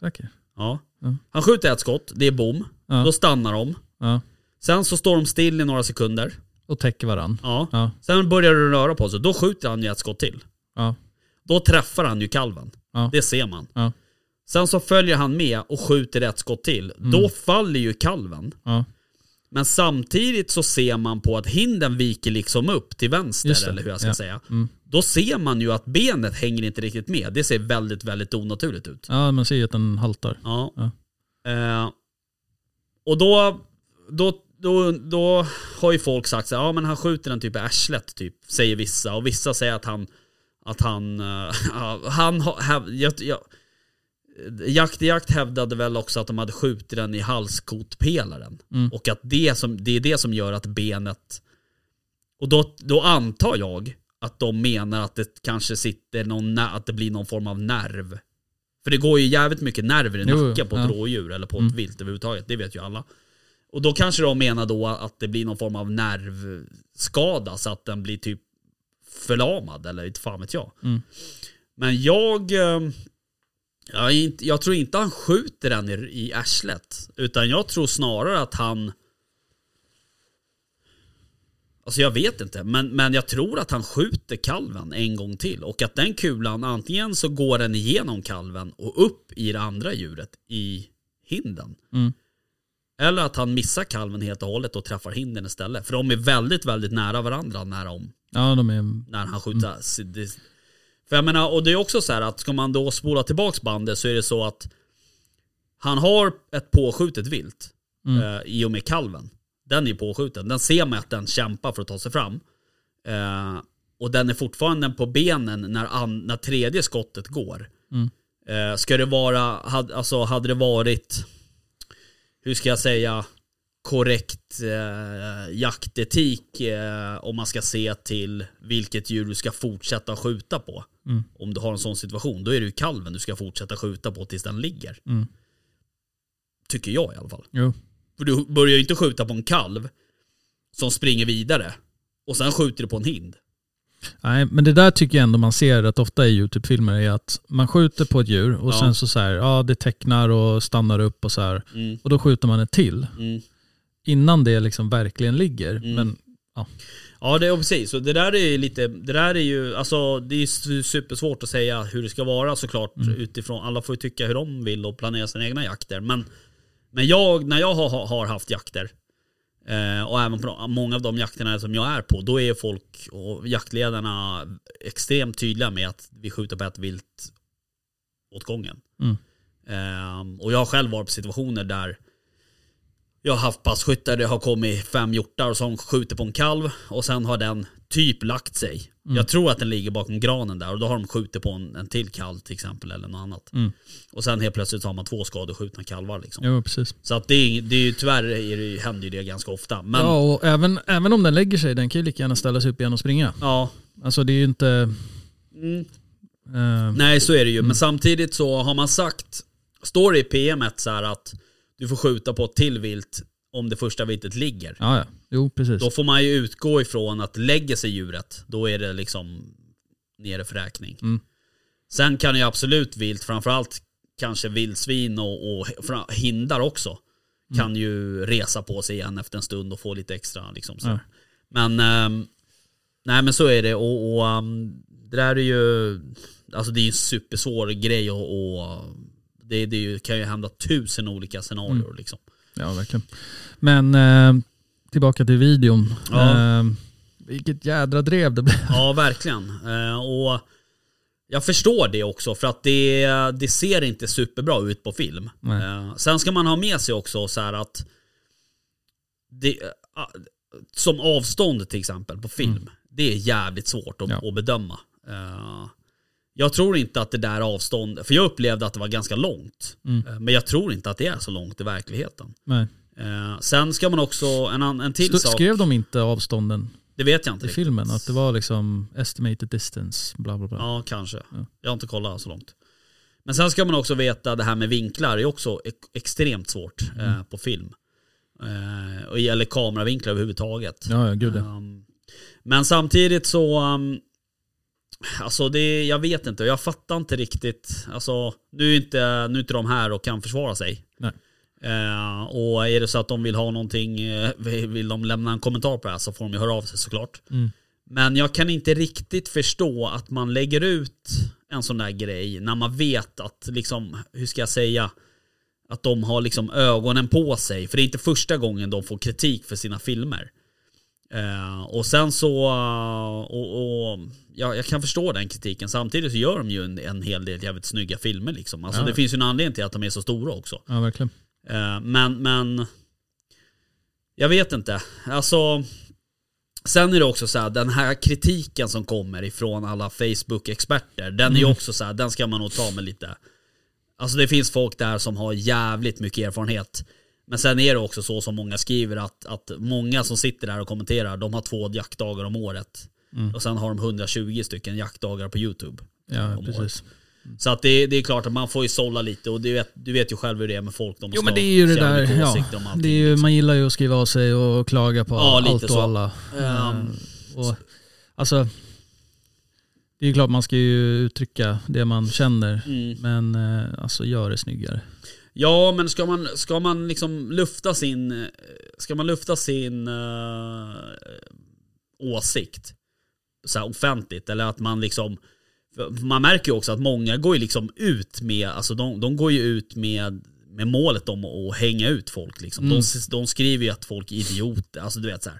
Speaker 4: Säker?
Speaker 3: Ja.
Speaker 4: Ja.
Speaker 3: Han skjuter ett skott, det är bom.
Speaker 4: Ja.
Speaker 3: Då stannar de.
Speaker 4: Ja.
Speaker 3: Sen så står de still i några sekunder.
Speaker 4: Och täcker varann.
Speaker 3: Ja.
Speaker 4: Ja.
Speaker 3: Sen börjar de röra på sig. Då skjuter han ju ett skott till.
Speaker 4: Ja.
Speaker 3: Då träffar han ju kalven.
Speaker 4: Ja.
Speaker 3: Det ser man.
Speaker 4: Ja.
Speaker 3: Sen så följer han med och skjuter ett skott till.
Speaker 4: Mm.
Speaker 3: Då faller ju kalven.
Speaker 4: Ja.
Speaker 3: Men samtidigt så ser man på att hinden viker liksom upp till
Speaker 4: Just
Speaker 3: vänster
Speaker 4: det.
Speaker 3: eller hur jag ska
Speaker 4: Ja.
Speaker 3: säga.
Speaker 4: Mm.
Speaker 3: Då ser man ju att benet hänger inte riktigt med. Det ser väldigt, väldigt onaturligt ut.
Speaker 4: ja, man ser ju att den haltar.
Speaker 3: Ja.
Speaker 4: Ja.
Speaker 3: Eh, och då, då, då, då har ju folk sagt så här, ja men han skjuter den typ i arslet typ, säger vissa. Och vissa säger att han, att han, eh, ja, han har, häv- jag, jag, Jakt i jakt hävdade väl också att de hade skjutit den i halskotpelaren.
Speaker 4: Mm.
Speaker 3: Och att det, som, det är det som gör att benet... Och då, då antar jag att de menar att det kanske sitter någon, nä- att det blir någon form av nerv. För det går ju jävligt mycket nerver i
Speaker 4: Jo, jo,
Speaker 3: nacken på ett
Speaker 4: ja.
Speaker 3: rådjur eller på ett
Speaker 4: Mm.
Speaker 3: vilt överhuvudtaget. Det vet ju alla. Och då kanske de menar då att det blir någon form av nervskada så att den blir typ förlamad eller inte fan vet jag.
Speaker 4: Mm.
Speaker 3: Men jag... eh, Jag, är inte, jag tror inte han skjuter den i, i arslet. Utan jag tror snarare att han... Alltså jag vet inte, men, men jag tror att han skjuter kalven en gång till. Och att den kulan, antingen så går den igenom kalven och upp i det andra djuret i hinden.
Speaker 4: Mm.
Speaker 3: Eller att han missar kalven helt och hållet och träffar hinden istället. För de är väldigt, väldigt nära varandra när de
Speaker 4: Ja, de är...
Speaker 3: när han skjuter.
Speaker 4: Mm.
Speaker 3: Så det- För jag menar, och det är också så här att ska man då spola tillbaks bandet så är det så att han har ett påskjutet vilt
Speaker 4: Mm.
Speaker 3: eh, i och med kalven. Den är påskjuten. Den ser man att den kämpar för att ta sig fram. Eh, och den är fortfarande på benen när, an, när tredje skottet går.
Speaker 4: Mm.
Speaker 3: Eh, ska det vara, had, alltså hade det varit, hur ska jag säga, korrekt eh, jaktetik eh, om man ska se till vilket djur du ska fortsätta skjuta på.
Speaker 4: Mm.
Speaker 3: Om du har en sån situation, då är det ju kalven du ska fortsätta skjuta på tills den ligger.
Speaker 4: Mm.
Speaker 3: Tycker jag i alla fall.
Speaker 4: Jo.
Speaker 3: För du börjar ju inte skjuta på en kalv som springer vidare och sen skjuter du på en hind.
Speaker 4: Nej, men det där tycker jag ändå man ser rätt ofta i YouTube-filmer är att man skjuter på ett djur och
Speaker 3: Ja.
Speaker 4: sen så, så här, ja det tecknar och stannar upp och så här.
Speaker 3: Mm,
Speaker 4: Och då skjuter man ett till
Speaker 3: mm.
Speaker 4: innan det liksom verkligen ligger. Men
Speaker 3: Ja, det är precis. Och det där är ju lite, det där är ju, alltså det är su- supersvårt att säga hur det ska vara såklart
Speaker 4: Mm.
Speaker 3: utifrån, alla får ju tycka hur de vill och planera sina egna jakter. Men, men jag, när jag har, har haft jakter, eh, och även på de- många av de jakterna som jag är på, då är folk och jaktledarna extremt tydliga med att vi skjuter på ett vilt åt gången.
Speaker 4: Mm.
Speaker 3: Eh, och jag har själv varit på situationer där jag har haft passkyttar, det har kommit fem hjortar som skjuter på en kalv och sen har den typ lagt sig.
Speaker 4: Mm.
Speaker 3: Jag tror att den ligger bakom granen där och då har de skjutit på en, en till kalv till exempel eller något annat.
Speaker 4: Mm.
Speaker 3: Och sen helt plötsligt har man två skadeskjutna kalvar liksom.
Speaker 4: jo, precis.
Speaker 3: Så att det är, ing- det är ju tyvärr är det, ju- händer ju det ganska ofta. Men ja,
Speaker 4: Ja, och även, även om den lägger sig, den kan ju lika gärna ställa sig upp igen och springa. Alltså det är ju inte...
Speaker 3: Mm.
Speaker 4: eh,
Speaker 3: nej så är det ju. Men samtidigt så har man sagt, står det i PMet så här att du får skjuta på ett till vilt om det första viltet ligger.
Speaker 4: ja, ja. Jo, precis.
Speaker 3: Då får man ju utgå ifrån att lägger sig djuret, då är det liksom nere för räkning.
Speaker 4: Mm.
Speaker 3: Sen kan ju absolut vilt, framförallt kanske vildsvin och, och fra- hindar också,
Speaker 4: Mm.
Speaker 3: kan ju resa på sig igen efter en stund och få lite extra. Liksom, så.
Speaker 4: Ja.
Speaker 3: Men, ehm, nej men så är det. Och, och ehm, det där är ju, alltså det är ju en supersvår grej och, och Det, det är ju- kan ju hända tusen olika scenarier
Speaker 4: Mm.
Speaker 3: liksom.
Speaker 4: Ja, verkligen. Men eh, tillbaka till videon.
Speaker 3: Ja.
Speaker 4: Eh, vilket jädra drev det blev.
Speaker 3: Ja, verkligen. Eh, Och jag förstår det också för att det, det ser inte superbra ut på film.
Speaker 4: Nej.
Speaker 3: Eh, Sen ska man ha med sig också så här att det, eh, som avstånd till exempel på film, det är jävligt svårt att,
Speaker 4: Mm. Ja.
Speaker 3: att bedöma. Eh, Jag tror inte att det där avståndet, för jag upplevde att det var ganska långt,
Speaker 4: Mm.
Speaker 3: Eh, men jag tror inte att det är så långt i verkligheten.
Speaker 4: Nej.
Speaker 3: Eh, Sen ska man också, en, an- en till
Speaker 4: Sto-
Speaker 3: sak,
Speaker 4: Skrev de inte avstånden
Speaker 3: det vet jag inte
Speaker 4: i
Speaker 3: riktigt.
Speaker 4: filmen? Att det var liksom estimated distance, bla bla bla.
Speaker 3: Ja, kanske. Jag har inte kollat så långt. Men sen ska man också veta det här med vinklar är också ek- extremt svårt eh, på film. Eh, och gäller kameravinklar överhuvudtaget.
Speaker 4: Ja, ja gud ja.
Speaker 3: Um, men samtidigt så, um, alltså det, jag vet inte, jag fattar inte riktigt. Alltså, nu är inte, nu är inte de här och kan försvara sig.
Speaker 4: Nej.
Speaker 3: Eh, och är det så att de vill ha någonting, eh, vill vill de lämna en kommentar på det här så får de ju höra av sig såklart.
Speaker 4: Mm.
Speaker 3: Men jag kan inte riktigt förstå att man lägger ut en sån där grej när man vet att, liksom, hur ska jag säga, att de har liksom ögonen på sig. För det är inte första gången de får kritik för sina filmer. Eh, och sen så, eh, och, och ja, jag kan förstå den kritiken. Samtidigt så gör de ju en, en hel del jävligt snygga filmer liksom. Alltså
Speaker 4: Ja.
Speaker 3: det finns ju en anledning till att de är så stora också.
Speaker 4: Ja, verkligen.
Speaker 3: Eh, Men, men jag vet inte. Alltså, sen är det också så här, den här kritiken som kommer ifrån alla Facebook-experter, den är ju också så här, den ska man nog ta med lite. Alltså det finns folk där som har jävligt mycket erfarenhet. Men sen är det också så som många skriver att, att många som sitter där och kommenterar, de har två jaktdagar om året. Och sen har de 120 stycken jaktdagar på YouTube. eh,
Speaker 4: Ja,
Speaker 3: om året.
Speaker 4: precis.
Speaker 3: Så att det, det är klart att man får ju sålla lite och du vet, du vet ju själv hur det är med folk. De
Speaker 4: Jo
Speaker 3: ska
Speaker 4: men det är ju det
Speaker 3: ha
Speaker 4: där,
Speaker 3: jävligt
Speaker 4: ja.
Speaker 3: åsikter om allting,
Speaker 4: Det är ju,
Speaker 3: liksom.
Speaker 4: man gillar ju att skriva av sig och klaga på
Speaker 3: Ja, lite
Speaker 4: allt och
Speaker 3: så.
Speaker 4: alla.
Speaker 3: Ehm,
Speaker 4: Och, alltså, det är ju klart man ska ju uttrycka det man känner.
Speaker 3: Mm.
Speaker 4: Men eh, alltså gör det snyggare.
Speaker 3: Ja men ska man, ska man liksom lufta sin, eh, ska man lufta sin eh, åsikt så här offentligt eller att man liksom för man märker ju också att många går ju liksom ut med, alltså de, de går ju ut med, med målet om att hänga ut folk liksom.
Speaker 4: Mm.
Speaker 3: De, de skriver ju att folk är idioter, alltså du vet så här.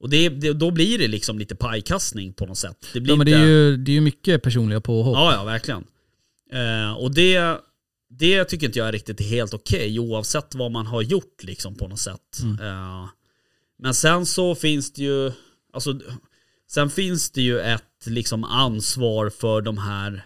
Speaker 3: Och det, det, då blir det liksom lite pajkastning på något sätt. Det blir
Speaker 4: Ja, men det
Speaker 3: inte-
Speaker 4: är ju det är ju mycket personliga påhopp.
Speaker 3: Ja, ja, verkligen. Eh, och det, det tycker inte jag är riktigt helt okej, oavsett vad man har gjort liksom på något sätt. Eh, men sen så finns det ju, alltså, sen finns det ju ett liksom ansvar för de här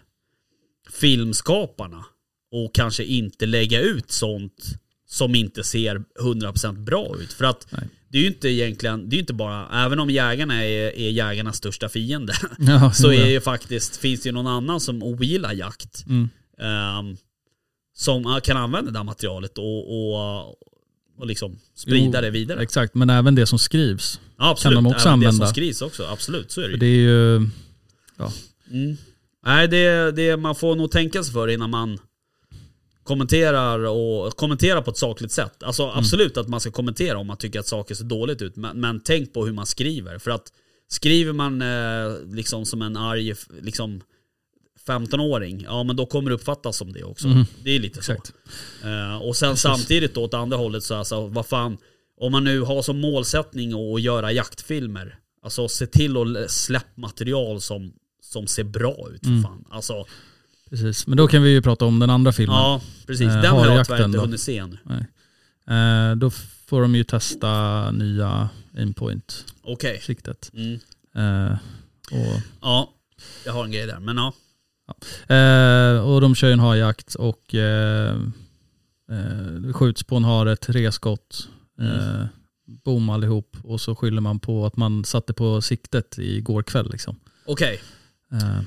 Speaker 3: filmskaparna och kanske inte lägga ut sånt som inte ser 100% bra ut. För att
Speaker 4: Nej.
Speaker 3: det är ju inte egentligen, det är ju inte bara, även om jägarna är, är jägarnas största fiende,
Speaker 4: Ja,
Speaker 3: så
Speaker 4: jo, ja.
Speaker 3: är ju faktiskt, finns det ju någon annan som ogillar jakt.
Speaker 4: Mm.
Speaker 3: ehm, som eh, kan använda det här materialet och, och, och liksom sprida
Speaker 4: Jo,
Speaker 3: det vidare.
Speaker 4: Exakt, men även det som skrivs.
Speaker 3: Ja, absolut.
Speaker 4: kan de också
Speaker 3: Även det som
Speaker 4: använda.
Speaker 3: skrivs också, absolut. Så är det
Speaker 4: För
Speaker 3: ju.
Speaker 4: det är ju,
Speaker 3: Mm. Nej, det, det, man får nog tänka sig för innan man kommenterar och kommenterar på ett sakligt sätt. Alltså absolut att man ska kommentera om man tycker att saker ser dåligt ut, men, men tänk på hur man skriver. För att skriver man eh, liksom som en arg f- liksom 15-åring, ja men då kommer det uppfattas som det också. Det är lite
Speaker 4: Exakt.
Speaker 3: så. Eh, och sen samtidigt då åt andra hållet så alltså, vad fan, om man nu har som målsättning att göra jaktfilmer, alltså se till att l- släpp material som, som ser bra ut för
Speaker 4: Mm.
Speaker 3: fan. Alltså,
Speaker 4: precis. Men då kan vi ju prata om den andra filmen.
Speaker 3: ja precis.
Speaker 4: Eh,
Speaker 3: Den har jag
Speaker 4: harjakten
Speaker 3: tyvärr inte
Speaker 4: då?
Speaker 3: hunnit se ännu.
Speaker 4: Eh, då får de ju testa nya aimpoint-siktet.
Speaker 3: Okej. Mm.
Speaker 4: Eh, och
Speaker 3: Ja, jag har en grej där. Men ja,
Speaker 4: Eh, och de kör ju en harjakt och eh, eh, det skjuts på en hare, tre skott,
Speaker 3: Mm.
Speaker 4: eh, bom allihop och så skyller man på att man satte på siktet igår kväll. Liksom.
Speaker 3: okej.
Speaker 4: Eh,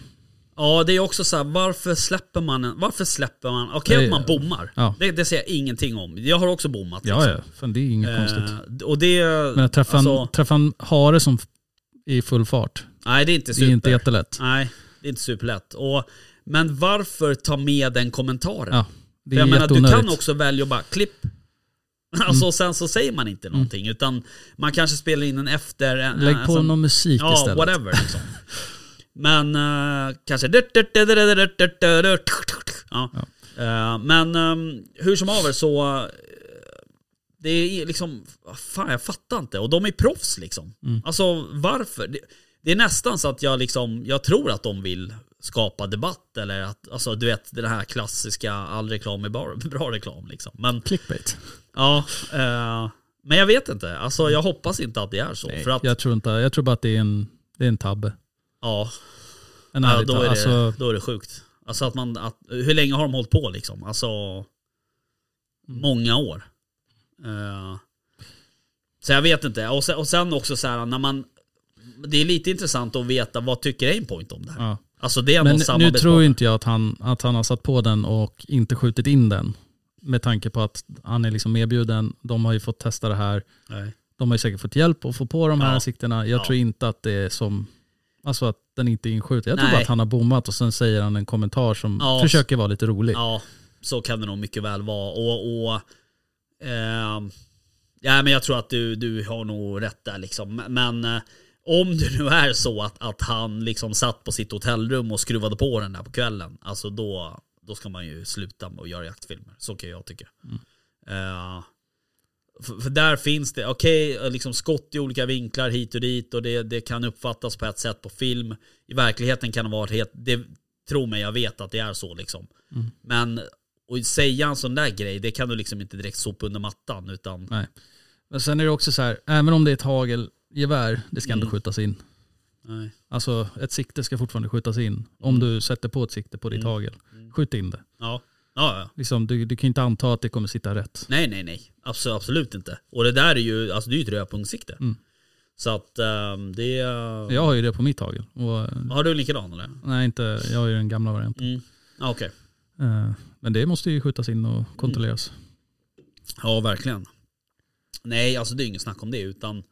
Speaker 3: Ja det är också så här, varför släpper man en, varför släpper man, okej
Speaker 4: Nej,
Speaker 3: att man bommar.
Speaker 4: ja.
Speaker 3: Det, det säger jag ingenting om. Jag har också bommat. liksom.
Speaker 4: ja, ja, fan, det är inget konstigt.
Speaker 3: Eh, och det,
Speaker 4: Men att träffa, en,
Speaker 3: alltså,
Speaker 4: träffa en hare som f- är i full fart,
Speaker 3: nej det är inte
Speaker 4: det
Speaker 3: super.
Speaker 4: är inte jättelätt.
Speaker 3: Nej, det är inte superlätt. Och, men varför ta med den kommentaren?
Speaker 4: Ja, det
Speaker 3: För
Speaker 4: är
Speaker 3: jag menar, du kan
Speaker 4: jätteonödigt. Mm.
Speaker 3: också välja att bara klipp. Alltså och sen så säger man inte någonting utan man kanske spelar in en efter... En,
Speaker 4: Lägg på
Speaker 3: alltså,
Speaker 4: någon musik
Speaker 3: Ja,
Speaker 4: istället.
Speaker 3: whatever liksom. Men eh, kanske... Ja. Eh, men ehm, hur som haver så... eh, det är liksom... Fan, jag fattar inte. Och de är proffs liksom.
Speaker 4: Mm.
Speaker 3: Alltså varför? Det, det är nästan så att jag liksom... Jag tror att de vill skapa debatt eller att... Alltså du vet den här klassiska all reklam är bara bra reklam liksom. Men
Speaker 5: Clickbait.
Speaker 3: ja... eh, men jag vet inte. Alltså jag hoppas inte att det är så. för att...
Speaker 4: Jag tror, inte, jag tror bara att det är en, det är en tabbe.
Speaker 3: Ja,
Speaker 4: En
Speaker 3: ja
Speaker 4: ärlig
Speaker 3: då, är
Speaker 4: tabbe.
Speaker 3: det,
Speaker 4: Alltså,
Speaker 3: då är det sjukt. Alltså att man, att, hur länge har de hållit på liksom? Alltså,
Speaker 4: Mm.
Speaker 3: många år. Eh, så jag vet inte. Och sen, och sen också så här när man, det är lite intressant att veta vad tycker Aimpoint om det här?
Speaker 4: ja.
Speaker 3: Alltså det är ändå
Speaker 4: Men
Speaker 3: en
Speaker 4: nu tror
Speaker 3: samarbetspartner.
Speaker 4: inte jag att han, att han har satt på den och inte skjutit in den. Med tanke på att han är liksom erbjuden, de har ju fått testa det här.
Speaker 3: Nej.
Speaker 4: De har ju säkert fått hjälp att få på de här
Speaker 3: Ja.
Speaker 4: sikterna. Jag
Speaker 3: Ja.
Speaker 4: tror inte att det är som, alltså att den inte är inskjuten. Jag tror
Speaker 3: Nej.
Speaker 4: bara att han har bommat och sen säger han en kommentar som
Speaker 3: Ja.
Speaker 4: försöker vara lite rolig.
Speaker 3: Ja, så kan det nog mycket väl vara. Och, och ehm, ja, men jag tror att du, du har nog rätt där liksom. Men eh, om det nu är så att, att han liksom satt på sitt hotellrum och skruvade på den där på kvällen, alltså då, då ska man ju sluta med att göra jaktfilmer. Så kan jag tycka. Eh, för, för där finns det, okej, liksom skott i olika vinklar hit och dit och det, det kan uppfattas på ett sätt på film. I verkligheten kan det vara helt, det, tro mig jag vet att det är så liksom. Men att säga en sån där grej, det kan du liksom inte direkt sopa under mattan utan
Speaker 4: Nej. Men sen är det också så här, även om det är ett hagelgevär, det ska ändå
Speaker 3: Mm.
Speaker 4: skjutas in.
Speaker 3: nej.
Speaker 4: Alltså ett sikte ska fortfarande skjutas in. Om du sätter på ett sikte på ditt
Speaker 3: Mm.
Speaker 4: hagel, skjut in det.
Speaker 3: Ja. Ja, ja.
Speaker 4: Liksom, du, du kan ju inte anta att det kommer sitta rätt.
Speaker 3: Nej, nej, nej. Absolut, absolut inte. Och det där är ju, alltså det är ju ett rödpunktssikte.
Speaker 4: Mm.
Speaker 3: Så att ehm, det... är-
Speaker 4: Jag har ju det på mitt hagel. Och, eh,
Speaker 3: Har du en likadan eller?
Speaker 4: nej, inte, jag har ju den gamla varianten.
Speaker 3: Mm. Ja, Okej.
Speaker 4: Eh, Men det måste ju skjutas in och kontrolleras.
Speaker 3: Ja, verkligen. Nej, alltså det är inget snack om det utan...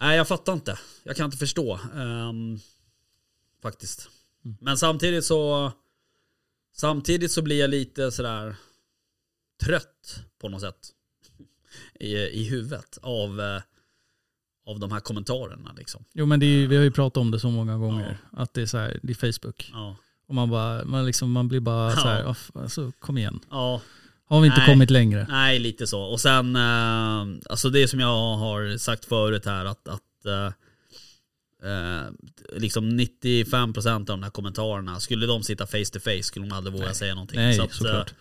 Speaker 3: Nej, jag fattar inte. Jag kan inte förstå. ehm, faktiskt. Men samtidigt så... Samtidigt så blir jag lite sådär trött på något sätt. I, i huvudet av, eh, av de här kommentarerna liksom.
Speaker 4: Jo men det är, ju- vi har ju pratat om det så många gånger. Att det är så här, det är Facebook.
Speaker 3: Ja.
Speaker 4: Och man, bara, man, liksom, man blir bara så här,
Speaker 3: Ja.
Speaker 4: "Ah, f- alltså, kom igen.
Speaker 3: ja,
Speaker 4: Har vi inte
Speaker 3: Nej.
Speaker 4: kommit längre?
Speaker 3: Nej, lite så. Och sen, eh, alltså det som jag har sagt förut här att, att eh, eh, liksom 95% av de här kommentarerna, skulle de sitta face to face skulle de aldrig våga säga någonting.
Speaker 4: Nej,
Speaker 3: så att, eh,
Speaker 4: såklart.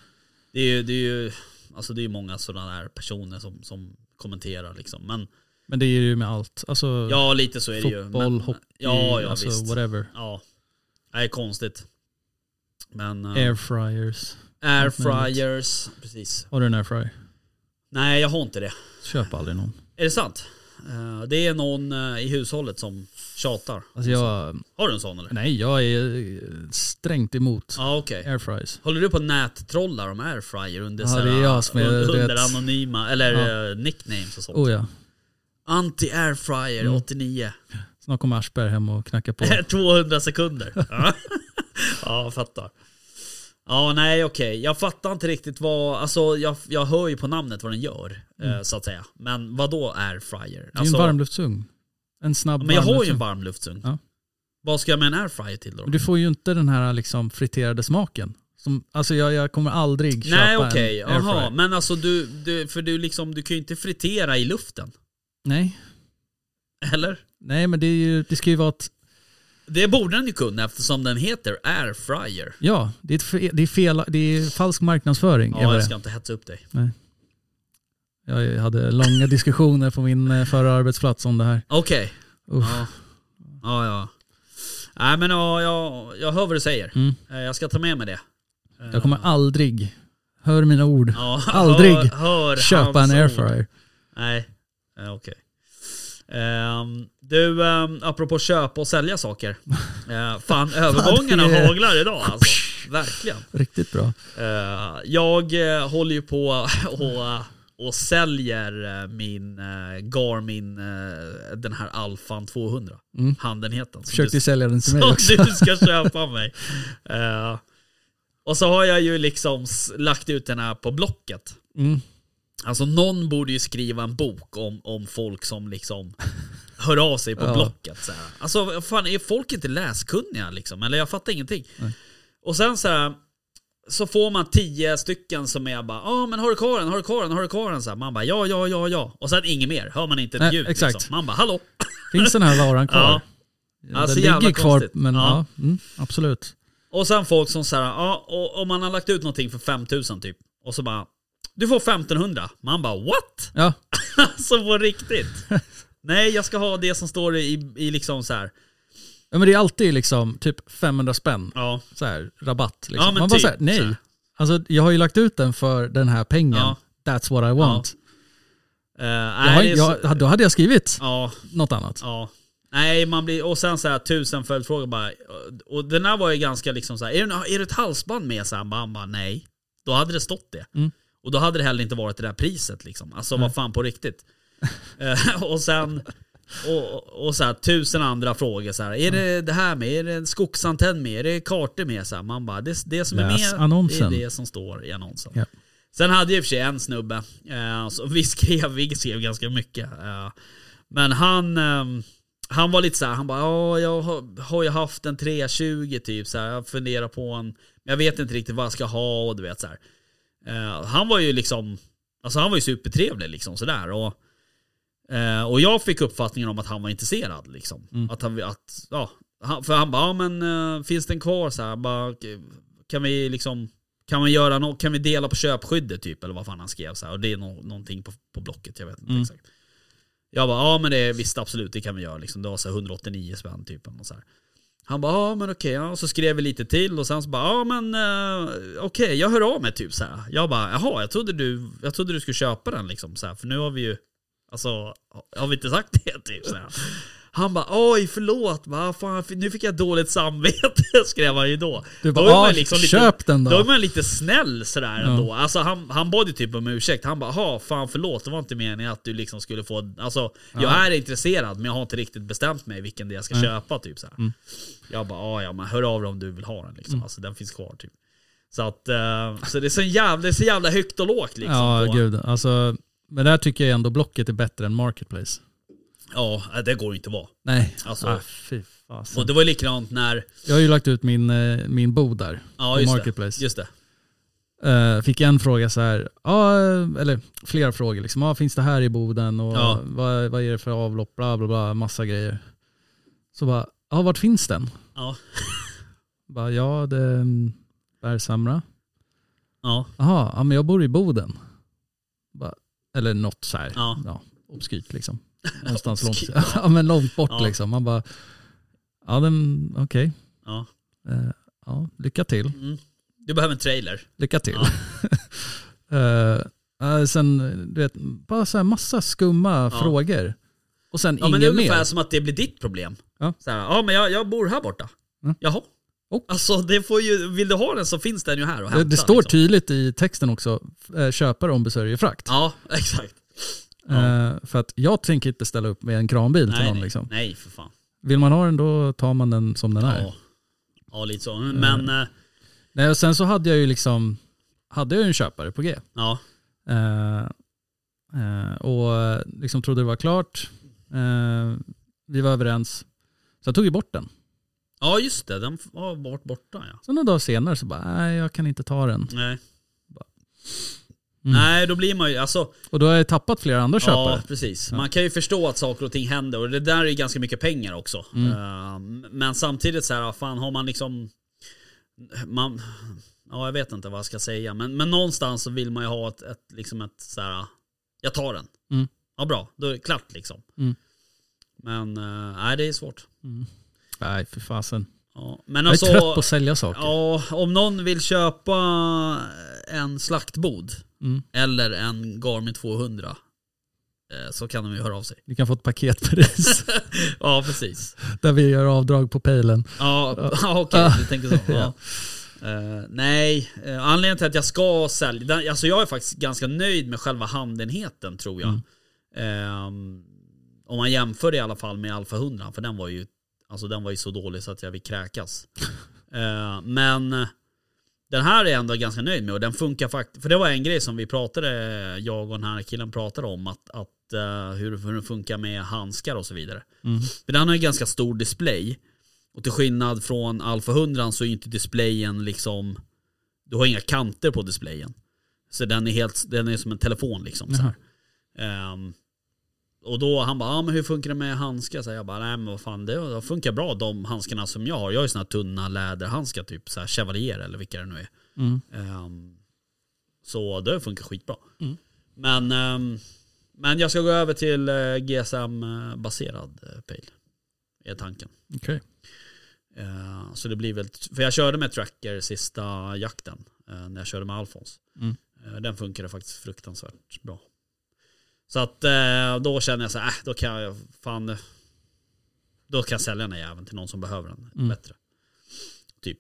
Speaker 3: det är ju, det är ju alltså det är ju många sådana här personer som, som kommenterar liksom. Men
Speaker 4: Men det är ju med allt. Alltså,
Speaker 3: ja, lite så är det ju.
Speaker 4: fotboll,
Speaker 3: Men,
Speaker 4: hockey,
Speaker 3: ja, ja,
Speaker 4: alltså,
Speaker 3: visst.
Speaker 4: whatever.
Speaker 3: Ja, det är konstigt. Men eh,
Speaker 4: Airfryers.
Speaker 3: airfryers, precis.
Speaker 4: Har du en airfryer?
Speaker 3: Nej, jag har inte det.
Speaker 4: Köp aldrig någon.
Speaker 3: Är det sant? Eh, Det är någon eh, i hushållet som tjatar.
Speaker 4: Alltså jag,
Speaker 3: Har du en sån eller?
Speaker 4: nej, jag är eh, strängt emot
Speaker 3: Ja okej.
Speaker 4: airfryers.
Speaker 3: Håller du på att nättrolla de airfryer under,
Speaker 4: Ja,
Speaker 3: såhär,
Speaker 4: det är jag som är-
Speaker 3: under,
Speaker 4: du
Speaker 3: under
Speaker 4: vet.
Speaker 3: anonyma, eller
Speaker 4: Ja.
Speaker 3: eh, nicknames och sånt?
Speaker 4: Oh ja,
Speaker 3: Anti-airfryer
Speaker 4: Mm.
Speaker 3: 89.
Speaker 4: snart kommer Aschberg hem och knacka på.
Speaker 3: 200 sekunder. Ja. ja, jag fattar. Ja, nej okej. Jag fattar inte riktigt vad, alltså jag, jag hör ju på namnet vad den gör, eh, så att säga. Men vad då airfryer?
Speaker 4: Mm. Det är ju
Speaker 3: Alltså,
Speaker 4: en varmluftsugn. En snabb
Speaker 3: men jag har ju en
Speaker 4: varmluftsugn.
Speaker 3: varmluftsugn.
Speaker 4: Ja.
Speaker 3: Vad ska jag med en airfryer till då?
Speaker 4: Men Du får ju inte den här liksom friterade smaken. Som, alltså jag, jag kommer aldrig
Speaker 3: Nej
Speaker 4: köpa
Speaker 3: okej,
Speaker 4: en airfryer.
Speaker 3: jaha. Men alltså du, du, för du liksom, du kan ju inte fritera i luften.
Speaker 4: Nej.
Speaker 3: Eller?
Speaker 4: Nej men det, är ju, det ska ju vara ett,
Speaker 3: Det borde den ju kunna eftersom den heter airfryer.
Speaker 4: ja det är, ett fe, det är, fel, det är falsk marknadsföring. är
Speaker 3: Ja,
Speaker 4: vad
Speaker 3: jag
Speaker 4: det
Speaker 3: ska inte hetsa upp dig.
Speaker 4: är. jag hade långa diskussioner på min eh, förra arbetsplats om det här.
Speaker 3: Okej.
Speaker 4: Uff.
Speaker 3: Ja. ja, ja. Nej men ja, jag, jag hör vad du säger.
Speaker 4: Mm.
Speaker 3: Eh, Jag ska ta med mig det. Eh,
Speaker 4: Jag kommer aldrig, hör mina ord,
Speaker 3: ja,
Speaker 4: aldrig
Speaker 3: hör, hör
Speaker 4: köpa
Speaker 3: hans
Speaker 4: en
Speaker 3: ord.
Speaker 4: airfryer.
Speaker 3: Nej, eh, okej. Ehm, du, um, apropå köpa och sälja saker. Eh, fan, övergångarna
Speaker 4: det är-
Speaker 3: haglar idag alltså. Verkligen.
Speaker 4: Riktigt bra.
Speaker 3: Eh, jag eh, håller ju på och, och säljer eh, min eh, Garmin, eh, den här Alfan 200.
Speaker 4: Mm.
Speaker 3: Handenheten. som
Speaker 4: Försökte ju sälja den till mig
Speaker 3: som
Speaker 4: också.
Speaker 3: du ska köpa av mig. Eh, och så har jag ju liksom s- lagt ut den här på Blocket.
Speaker 4: Mm.
Speaker 3: Alltså någon borde ju skriva en bok om, om folk som liksom hör av sig på
Speaker 4: Ja.
Speaker 3: Blocket. Så här. Alltså fan, är folk inte läskunniga liksom? Eller jag fattar ingenting. Och sen så här, så får man tio stycken som är bara ja men har du kvar den, har du kvar den, har du kvar den? Så här, man bara ja, ja, ja, ja. Och sen inget mer, hör man inte ett
Speaker 4: Nej,
Speaker 3: ljud.
Speaker 4: exakt.
Speaker 3: Liksom. Man bara hallå.
Speaker 4: Finns den här varan kvar?
Speaker 3: Ja.
Speaker 4: Den
Speaker 3: Alltså,
Speaker 4: ligger
Speaker 3: jävla
Speaker 4: kvar,
Speaker 3: konstigt.
Speaker 4: men
Speaker 3: Ja.
Speaker 4: ja. mm, absolut.
Speaker 3: Och sen folk som säger ja och om man har lagt ut någonting för 5000 typ. Och så bara du får 1500. Man bara what?
Speaker 4: Ja,
Speaker 3: Alltså på riktigt. Nej jag ska ha det som står i, i liksom så här.
Speaker 4: ja men det är alltid liksom typ 500 spänn
Speaker 3: Ja.
Speaker 4: så här, rabatt. Liksom.
Speaker 3: Ja, men
Speaker 4: Man bara
Speaker 3: typ,
Speaker 4: så här, nej.
Speaker 3: så här.
Speaker 4: Alltså, jag har ju lagt ut den för den här pengen.
Speaker 3: Ja.
Speaker 4: That's what I want.
Speaker 3: Uh,
Speaker 4: Jag har,
Speaker 3: nej, det är så,
Speaker 4: jag, då hade jag skrivit
Speaker 3: ja,
Speaker 4: något annat.
Speaker 3: ja. Nej man blir, och sen så här tusen följdfrågor bara. Och den där var ju ganska liksom så här. Är, det- är det ett halsband med? Så här, man bara nej. Då hade det stått det.
Speaker 4: Mm.
Speaker 3: Och då hade det heller inte varit det där priset liksom. Alltså vad fan på riktigt. Eh, och sen, och, och så här, tusen andra frågor så här. Är det det här med? Är det en skogsantenn med? Är det kartor med? Så här, man bara, det, det som är
Speaker 4: Läs
Speaker 3: med,
Speaker 4: annonsen.
Speaker 3: det är det som står i annonsen.
Speaker 4: Ja.
Speaker 3: Sen hade jag i och för sig en snubbe, eh, så vi, skrev, vi skrev ganska mycket. Eh, men han, ehm, han var lite så här, han bara ja jag har, har ju haft en 320 typ så här, jag funderar på en, men jag vet inte riktigt vad jag ska ha och du vet så här. Eh, han var ju liksom, alltså han var ju supertrevlig liksom sådär. Och, eh, och jag fick uppfattningen om att han var intresserad liksom. Att han, att, ja, han, för han bara, ja men eh, finns den kvar så här, bara, kan vi liksom, kan vi göra nå kan vi dela på köpskyddet typ eller vad fan han skrev så här. Och det är nå någonting på, på blocket, jag vet inte exakt. Jag bara, ja men det visst absolut, det kan vi göra liksom. Det var så här 189 spänn typ. Och så här. Han bara, ja men okej, ja. Och så skrev vi lite till och sen så bara, ja men eh, okej, jag hör av mig typ så här. Jag bara, jaha, jag trodde du, jag trodde du skulle köpa den liksom så här, för nu har vi ju, alltså, har vi inte sagt det typ så här. Han bara, oj förlåt, va, fan, nu fick jag dåligt samvete, skrev han ju då.
Speaker 4: Du
Speaker 3: Då
Speaker 4: bara,
Speaker 3: är man liksom
Speaker 4: "Ah, köp den då."
Speaker 3: Då är man lite snäll sådär ändå. Alltså han, han bad ju typ om ursäkt. Han bara, ha fan förlåt, det var inte meningen att du liksom skulle få, alltså jag är intresserad men jag har inte riktigt bestämt mig vilken det jag ska köpa typ så här.
Speaker 4: Mm.
Speaker 3: Jag bara, "Ah, ja men hör av dig om du vill ha den liksom. Alltså den finns kvar typ. Så att, eh, så det är så jävla, det är så jävla högt och lågt liksom.
Speaker 4: ja,
Speaker 3: på-
Speaker 4: gud. Alltså, men där tycker jag ändå Blocket är bättre än Marketplace.
Speaker 3: ja, eh, det går ju inte att vara.
Speaker 4: Nej,
Speaker 3: Alltså.
Speaker 4: ah, fy fasen.
Speaker 3: Och det var ju likadant när,
Speaker 4: Jag har ju lagt ut min, eh, min bod där
Speaker 3: ja
Speaker 4: på
Speaker 3: just
Speaker 4: Marketplace.
Speaker 3: det. Just det.
Speaker 4: Eh, fick en fråga så här, ja, eller flera frågor liksom. Ja, finns det här i boden och
Speaker 3: Ja.
Speaker 4: vad, vad är det för avlopp, bla bla bla, massa grejer. Så bara, ja vart finns den?
Speaker 3: Ja.
Speaker 4: Bara, ja det är mm, Bergshamra.
Speaker 3: Ja.
Speaker 4: Jaha, ja, men jag bor i Boden. Bara, eller något så här,
Speaker 3: Ja.
Speaker 4: ja. obskyrt liksom. Någonstans långt,
Speaker 3: Obskyrt,
Speaker 4: ja, men långt bort
Speaker 3: Ja.
Speaker 4: liksom. Man bara, ja den, okej,
Speaker 3: ja.
Speaker 4: Eh, ja, lycka till.
Speaker 3: Du behöver en trailer.
Speaker 4: Lycka till. Eh, eh, sen, du vet, bara så här massa skumma
Speaker 3: Ja.
Speaker 4: frågor. Och sen
Speaker 3: Ja men det är
Speaker 4: ingen
Speaker 3: ungefär
Speaker 4: mer.
Speaker 3: som att det blir ditt problem.
Speaker 4: Ja.
Speaker 3: Så här, ja men jag, jag bor här borta.
Speaker 4: Mm.
Speaker 3: Jaha.
Speaker 4: Och?
Speaker 3: Alltså det får ju, vill du ha den så finns den ju här och hämta.
Speaker 4: det, det står typ-
Speaker 3: liksom.
Speaker 4: tydligt i texten också, eh, köpare ombesörjer frakt.
Speaker 3: Ja, exakt.
Speaker 4: Eh, för att jag tänker inte ställa upp med en kranbil till
Speaker 3: Nej,
Speaker 4: någon.
Speaker 3: nej,
Speaker 4: Liksom.
Speaker 3: nej för fan.
Speaker 4: Vill man ha den då tar man den som den är.
Speaker 3: Ja. ja, lite så. Men, eh,
Speaker 4: Nej, och sen så hade jag ju liksom, hade jag ju en köpare på G.
Speaker 3: ja.
Speaker 4: Eh, eh, och liksom trodde det var klart. Eh, vi var överens. Så jag tog ju bort den.
Speaker 3: Ja just det, den var bort borta ja.
Speaker 4: Så några dagar senare så bara, nej jag kan inte ta den.
Speaker 3: Nej.
Speaker 4: Mm.
Speaker 3: Nej då blir man ju, alltså.
Speaker 4: Och då har jag tappat flera andra
Speaker 3: Ja
Speaker 4: köpare.
Speaker 3: precis. Man kan ju förstå att saker och ting händer och det där är ju ganska mycket pengar också.
Speaker 4: Mm.
Speaker 3: Eh, men samtidigt så här, ja, fan har man liksom. Man, ja jag vet inte vad jag ska säga men, men någonstans så vill man ju ha ett, ett liksom ett så här. Jag tar den.
Speaker 4: Mm.
Speaker 3: Ja bra, då är det klart liksom.
Speaker 4: Mm.
Speaker 3: Men eh, nej det är svårt.
Speaker 4: Nej, för fasen.
Speaker 3: Ja. Men
Speaker 4: Jag är
Speaker 3: alltså,
Speaker 4: trött på att sälja saker.
Speaker 3: Ja, om någon vill köpa en slaktbod
Speaker 4: Mm.
Speaker 3: eller en Garmin 200 eh, så kan de ju höra av sig.
Speaker 4: Ni kan få ett paketpris
Speaker 3: Ja, precis.
Speaker 4: där vi gör avdrag på pejlen.
Speaker 3: Ja, ja, okej, du tänker så. Ja. Eh, nej, eh, anledningen till att jag ska sälja, den- alltså jag är faktiskt ganska nöjd med själva handenheten tror jag. Ehm, om man jämför det i alla fall med Alfa 100, för den var ju, alltså den var ju så dålig så att jag vill kräkas. Eh, men den här är jag ändå ganska nöjd med och den funkar faktiskt. För det var en grej som vi pratade, jag och den här killen pratade om, att, att eh, hur, hur den funkar med handskar och så vidare. För den har ju ganska stor display. Och till skillnad från Alfa 100 så är ju inte displayen liksom Du har inga kanter på displayen. Så den är, helt, den är som en telefon liksom. Så här. Ehm, och då han bara, ah, men hur funkar det med handskar? Så här, jag bara, nej men vad fan det funkar bra de handskarna som jag har. Jag har ju såna här tunna läderhandskar typ, så här Chevalier eller vilka det nu är.
Speaker 4: Mm.
Speaker 3: Ehm, så det funkar skitbra. Men, ehm, men jag ska gå över till eh, GSM-baserad pejl. eh, Är tanken.
Speaker 4: Okej.
Speaker 3: Eh, Så det blir väl, för jag körde med tracker sista jakten eh, när jag körde med Alfons.
Speaker 4: Mm.
Speaker 3: Eh, Den funkade faktiskt fruktansvärt bra. Så att eh, då känner jag så här, äh, då kan jag fan, eh, då kan jag sälja den här jäveln till någon som behöver den
Speaker 4: Mm.
Speaker 3: bättre. Typ.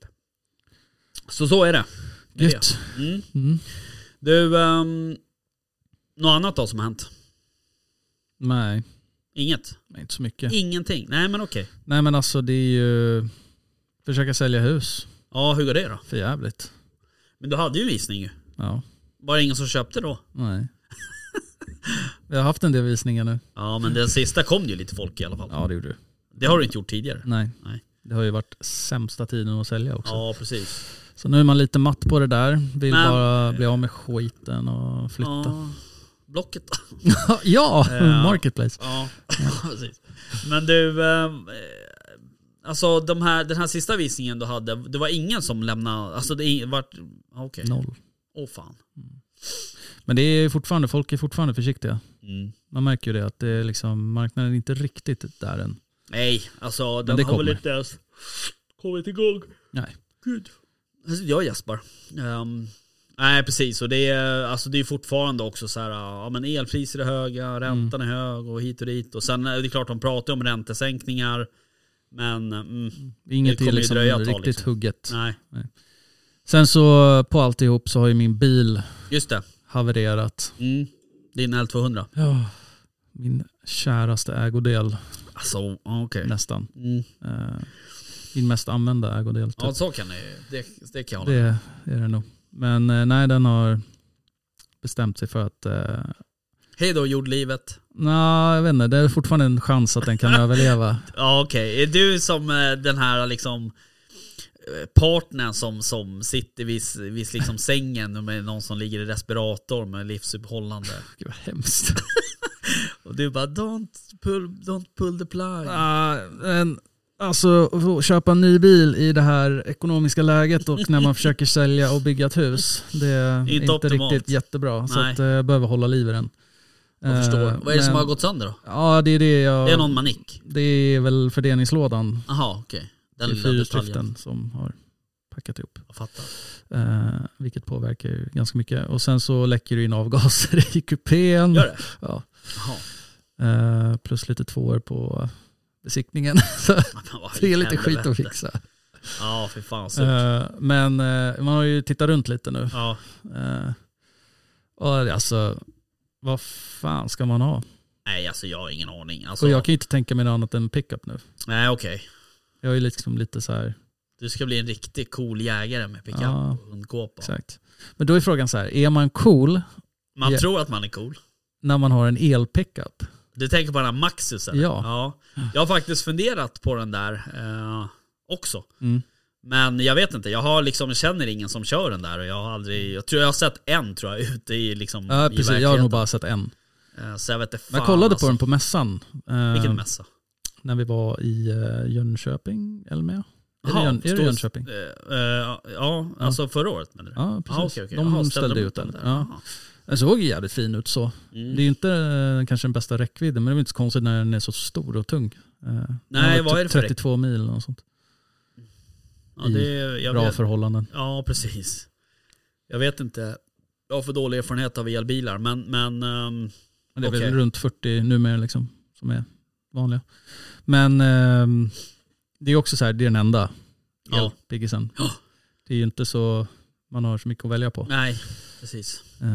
Speaker 3: Så så är det. Det är
Speaker 4: Gött.
Speaker 3: det. Mm.
Speaker 4: Mm.
Speaker 3: Du, ehm, något annat då som har hänt?
Speaker 4: Nej,
Speaker 3: Inget?
Speaker 4: men inte så mycket.
Speaker 3: Ingenting? Nej men okej.
Speaker 4: Nej men alltså det är ju... Försöka sälja hus.
Speaker 3: Ja hur går det då?
Speaker 4: För jävligt.
Speaker 3: Men du hade ju visning ju.
Speaker 4: Ja.
Speaker 3: Var det ingen som köpte då?
Speaker 4: Nej. Vi har haft en del visningar nu.
Speaker 3: Ja men den sista kom ju lite folk i alla fall.
Speaker 4: Ja det gjorde du.
Speaker 3: Det har du inte gjort tidigare.
Speaker 4: Nej.
Speaker 3: Nej.
Speaker 4: Det har ju varit sämsta tiden att sälja Mm, också.
Speaker 3: Ja precis.
Speaker 4: Så nu är man lite matt på det där. Vill
Speaker 3: Men-
Speaker 4: bara bli av med skiten och flytta.
Speaker 3: Ja, blocket då.
Speaker 4: Eh, Ja,
Speaker 3: Ja.
Speaker 4: Marketplace.
Speaker 3: Ja precis. Men du, eh, alltså de här, den här sista visningen du hade, det var ingen som lämnade, alltså det var, okej.
Speaker 4: Noll.
Speaker 3: Åh fan.
Speaker 4: Men det är fortfarande, folk är fortfarande försiktiga.
Speaker 3: Mm.
Speaker 4: Man märker ju det att det är liksom, marknaden är inte riktigt där än.
Speaker 3: Nej, alltså den
Speaker 4: det
Speaker 3: har väl
Speaker 4: kommer.
Speaker 3: inte ens kommit igång.
Speaker 4: Nej.
Speaker 3: Gud. Alltså, jag gäspar. Ehm, nej precis, och det är, alltså, det är fortfarande också så här, ja men elpriser är höga, räntan är hög och hit och dit. Och sen är det klart de pratar om räntesänkningar, men mm,
Speaker 4: Inget
Speaker 3: Det
Speaker 4: är
Speaker 3: kommer ju
Speaker 4: liksom
Speaker 3: dröja ett tag,
Speaker 4: riktigt
Speaker 3: liksom.
Speaker 4: hugget.
Speaker 3: nej.
Speaker 4: Sen så på alltihop så har ju min bil
Speaker 3: Just det,
Speaker 4: havererat.
Speaker 3: mm. din L200.
Speaker 4: Ja, min käraste ägodel
Speaker 3: Alltså ja, okej.
Speaker 4: nästan.
Speaker 3: Mm.
Speaker 4: Eh, min mest använda ägodel. Typ.
Speaker 3: Ja så kan det ju- det, det kan jag hålla med.
Speaker 4: det är det nog. Men eh, nej, den har bestämt sig för att eh,
Speaker 3: Hej då jordlivet.
Speaker 4: Nej, jag vet inte. Det är fortfarande en chans att den kan överleva.
Speaker 3: Ja okej, är du som eh, den här liksom eh, partnern som, som sitter vid, s- vid liksom sängen med någon som ligger i respirator med livsuppehållande.
Speaker 4: Gud vad hemskt.
Speaker 3: Och du bara don't pull, don't pull the plug.
Speaker 4: Ah, Eh, en, alltså att få köpa en ny bil i det här ekonomiska läget och när man försöker sälja och bygga ett hus. Det är
Speaker 3: Inte
Speaker 4: inte,
Speaker 3: optimalt.
Speaker 4: riktigt jättebra. Så
Speaker 3: Nej.
Speaker 4: att, eh, jag behöver hålla liv i den.
Speaker 3: Jag förstår.
Speaker 4: Eh,
Speaker 3: Vad är det som
Speaker 4: men-
Speaker 3: har gått sönder då?
Speaker 4: Ja, det är det jag...
Speaker 3: Det är någon manick?
Speaker 4: det är väl fördelningslådan.
Speaker 3: Jaha okej. Den
Speaker 4: Den
Speaker 3: lilla detaljen.
Speaker 4: fyrstiften som har packat ihop.
Speaker 3: Jag fattar.
Speaker 4: Eh, vilket påverkar ju ganska mycket. Och sen så läcker det in avgaser i kupén.
Speaker 3: Gör det?
Speaker 4: Ja.
Speaker 3: Jaha.
Speaker 4: Eh, plus lite tvåor på besiktningen.
Speaker 3: Men vad
Speaker 4: det är
Speaker 3: i
Speaker 4: lite skit
Speaker 3: helvete.
Speaker 4: att fixa.
Speaker 3: Ja för fan. Så.
Speaker 4: Eh, men eh, man har ju tittat runt lite nu.
Speaker 3: Ja.
Speaker 4: Eh, och alltså, vad fan ska man ha?
Speaker 3: Nej alltså jag har ingen aning. Alltså,
Speaker 4: Och jag kan ju inte tänka mig något annat än pickup nu.
Speaker 3: Nej okej.
Speaker 4: Jag är ju liksom lite så här,
Speaker 3: Du ska bli en riktig cool jägare med pickup
Speaker 4: Ja.
Speaker 3: och hundkåpa.
Speaker 4: exakt. Men då är frågan så här, är man cool
Speaker 3: Man
Speaker 4: Ja.
Speaker 3: tror att man är cool.
Speaker 4: när man har en el-pickup?
Speaker 3: Du tänker på den här Maxus eller?
Speaker 4: Ja.
Speaker 3: ja. Jag har faktiskt funderat på den där eh, också.
Speaker 4: Mm.
Speaker 3: Men jag vet inte, jag har liksom, jag känner ingen som kör den där och jag har aldrig, jag tror jag har sett en tror jag ute i liksom
Speaker 4: Ja,
Speaker 3: i
Speaker 4: precis. Jag har nog
Speaker 3: verkligheten.
Speaker 4: bara sett en.
Speaker 3: Eh, Så jag vet inte fan
Speaker 4: Jag kollade
Speaker 3: alltså.
Speaker 4: på den på mässan. eh,
Speaker 3: Vilken mässa?
Speaker 4: När vi var i eh, Jönköping, eller med? Är det,
Speaker 3: Jaha,
Speaker 4: Jön- är det
Speaker 3: stor-
Speaker 4: Jönköping?
Speaker 3: Eh, eh, ja, alltså förra året menar du?
Speaker 4: Ja, precis.
Speaker 3: Ah, okej, okej.
Speaker 4: De
Speaker 3: Jaha,
Speaker 4: ställde ut den. Ja.
Speaker 3: Jaha.
Speaker 4: Den såg ju jävligt fin ut så.
Speaker 3: Mm.
Speaker 4: Det är ju inte eh, kanske den bästa räckvidden, men det är väl inte så konstigt när den är så stor och tung. Eh, den
Speaker 3: Nej,
Speaker 4: har
Speaker 3: vad
Speaker 4: typ
Speaker 3: är det för
Speaker 4: 32 mil eller något sånt.
Speaker 3: ja, det är, jag
Speaker 4: Bra
Speaker 3: vet,
Speaker 4: förhållanden.
Speaker 3: Ja, precis. Jag vet inte. Jag har för dålig erfarenhet av elbilar, men, men ehm,
Speaker 4: Men det är
Speaker 3: Okej.
Speaker 4: väl runt 40 numera liksom, som är vanliga. Men ehm, det är också så här, det är den enda
Speaker 3: Ja.
Speaker 4: elpiggisen.
Speaker 3: Ja.
Speaker 4: Det är ju inte så man har så mycket att välja på.
Speaker 3: nej, precis.
Speaker 4: Eh,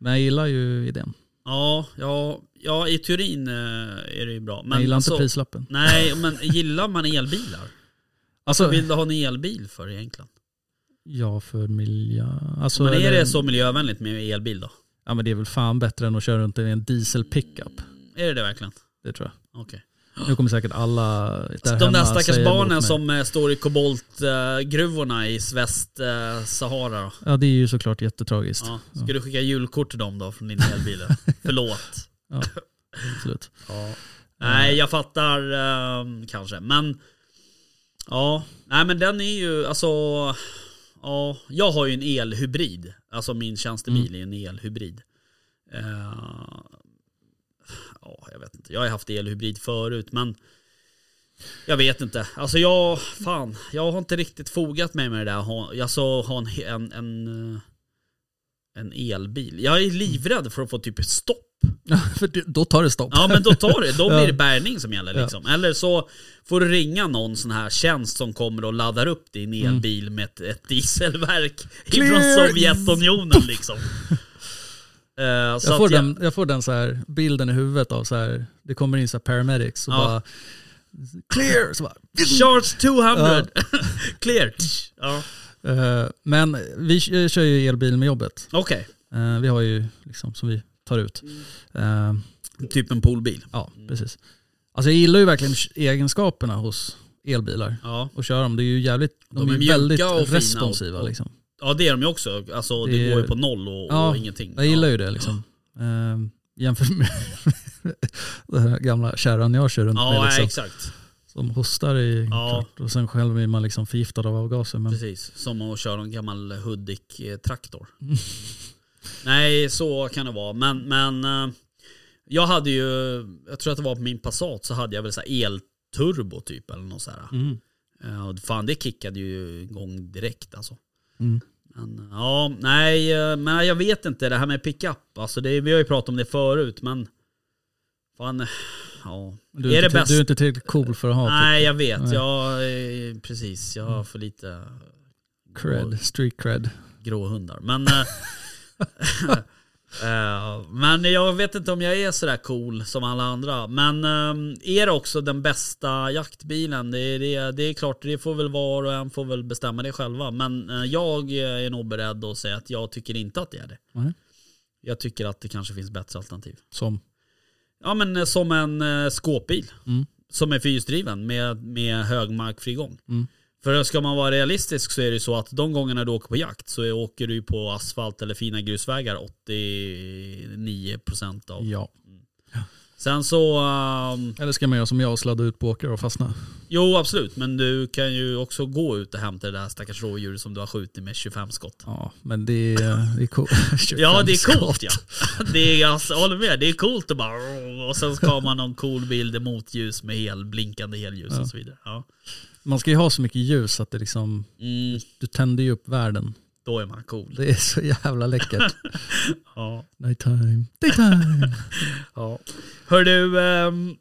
Speaker 4: men jag gillar ju idén.
Speaker 3: Ja, ja, ja i teorin eh, är det ju bra. Men
Speaker 4: jag gillar
Speaker 3: alltså-
Speaker 4: inte prislappen.
Speaker 3: Nej, men gillar man elbilar?
Speaker 4: Alltså,
Speaker 3: Vad vill du ha en elbil för egentligen?
Speaker 4: ja för miljö. Alltså,
Speaker 3: men är
Speaker 4: eller-
Speaker 3: det så miljövänligt med elbil då?
Speaker 4: Ja men det är väl fan bättre än att köra runt i en diesel pickup.
Speaker 3: Är det det verkligen?
Speaker 4: Det tror jag.
Speaker 3: Okej.
Speaker 4: Nu kommer säkert alla där
Speaker 3: De där
Speaker 4: hemma
Speaker 3: stackars
Speaker 4: säga emot mig.
Speaker 3: barnen som eh, står i koboltgruvorna i Västsahara då.
Speaker 4: Ja det är ju såklart jättetragiskt.
Speaker 3: Ja. Ska du skicka julkort till dem då från din elbil? Förlåt.
Speaker 4: Absolut.
Speaker 3: Nej, jag fattar ehm, kanske. Men ja, nej men den är ju alltså. Ja, jag har ju en elhybrid. Alltså min tjänstebil är en elhybrid. Eh, ja, jag vet inte. Jag har ju haft elhybrid förut, men jag vet inte. Alltså jag, fan, jag har inte riktigt fogat mig med det där. Ha- Alltså ha en, en, en, eh, en elbil. Jag är livrädd för att få typ ett stopp.
Speaker 4: För det- då tar det stopp.
Speaker 3: Ja men då tar det, då
Speaker 4: Ja.
Speaker 3: blir det bärgning som gäller liksom. Eller så får du ringa någon sån här tjänst som kommer och laddar upp din
Speaker 4: Mm.
Speaker 3: elbil med ett, ett dieselverk
Speaker 4: Clear.
Speaker 3: ifrån Sovjetunionen liksom. Eh, så
Speaker 4: Jag
Speaker 3: att
Speaker 4: får,
Speaker 3: jag-
Speaker 4: den, jag får den så här bilden i huvudet av så här, det kommer in så här paramedics och
Speaker 3: Ja.
Speaker 4: bara clear! Så bara,
Speaker 3: Charge 200! Clear! Ja.
Speaker 4: eh, men vi k- kör ju elbil med jobbet.
Speaker 3: Okej,
Speaker 4: Eh, vi har ju liksom som vi tar ut.
Speaker 3: Mm.
Speaker 4: Eh,
Speaker 3: typ en poolbil.
Speaker 4: ja, precis. Alltså jag gillar ju verkligen egenskaperna hos elbilar.
Speaker 3: Ja.
Speaker 4: Och köra dem, det är ju jävligt, de,
Speaker 3: De är
Speaker 4: är, ju
Speaker 3: mjuka
Speaker 4: väldigt
Speaker 3: och fina och-
Speaker 4: responsiva liksom.
Speaker 3: ja det är de ju också, alltså det,
Speaker 4: Det är-
Speaker 3: går ju på noll och,
Speaker 4: Ja,
Speaker 3: och ingenting.
Speaker 4: Jag gillar ju det liksom. Eh, jämfört med den här gamla kärran jag kör runt
Speaker 3: Ja,
Speaker 4: med.
Speaker 3: ja
Speaker 4: Liksom,
Speaker 3: exakt.
Speaker 4: som hostar i
Speaker 3: Ja.
Speaker 4: klart, och sen själv är man liksom förgiftad av avgaser. Men,
Speaker 3: Precis, som att köra en gammal Hudik-traktor.
Speaker 4: Mm.
Speaker 3: Nej, så kan det vara. Men, men eh, jag hade ju, jag tror att det var på min Passat så hade jag väl så här elturbo typ eller något så här.
Speaker 4: Mm.
Speaker 3: Eh, och Fan det kickade ju igång direkt alltså.
Speaker 4: Mm.
Speaker 3: Men, eh, ja, nej, eh, men jag vet inte det här med pickup. Alltså det, vi har ju pratat om det förut men fan, eh, ja.
Speaker 4: Du,
Speaker 3: är
Speaker 4: är
Speaker 3: det
Speaker 4: inte, till- du är
Speaker 3: bäst?
Speaker 4: inte tillräckligt cool för att ha typ,
Speaker 3: Nej jag vet,
Speaker 4: Nej. Mm.
Speaker 3: jag, eh, precis, jag har för lite
Speaker 4: cred, street cred.
Speaker 3: grå hundar. Men, eh, eh, men jag vet inte om jag är sådär cool som alla andra. Men eh, är det också den bästa jaktbilen? Det är, det, det är klart, det får väl var och en får väl bestämma det själva. Men eh, jag är nog beredd att säga att jag tycker inte att det är det.
Speaker 4: Nej.
Speaker 3: Jag tycker att det kanske finns bättre alternativ.
Speaker 4: Som,
Speaker 3: Ja men eh, som en eh, skåpbil.
Speaker 4: Mm.
Speaker 3: Som är fyrhjulsdriven med, med hög markfrigång.
Speaker 4: Mm.
Speaker 3: För ska man vara realistisk så är det ju så att de gångerna du åker på jakt så är- åker du ju på asfalt eller fina grusvägar 89% av.
Speaker 4: ja.
Speaker 3: Sen så, ehm,
Speaker 4: Eller ska man göra som jag och sladda ut på åkrar och fastna?
Speaker 3: jo absolut men du kan ju också gå ut och hämta det där stackars rådjuret som du har skjutit med 25 skott.
Speaker 4: Ja, men det är, det är coolt.
Speaker 3: Ja det är coolt ja. Det är, alltså, jag håller med, det är coolt att bara och sen ska man någon cool bild i motljus med hel, blinkande helljus
Speaker 4: Ja.
Speaker 3: och så vidare. Ja.
Speaker 4: Man ska ju ha så mycket ljus att det liksom,
Speaker 3: Mm.
Speaker 4: du tänder ju upp världen.
Speaker 3: Då är man cool.
Speaker 4: Det är så jävla läckert.
Speaker 3: Ja.
Speaker 4: Nighttime, daytime.
Speaker 3: ja. Hör du, ehm,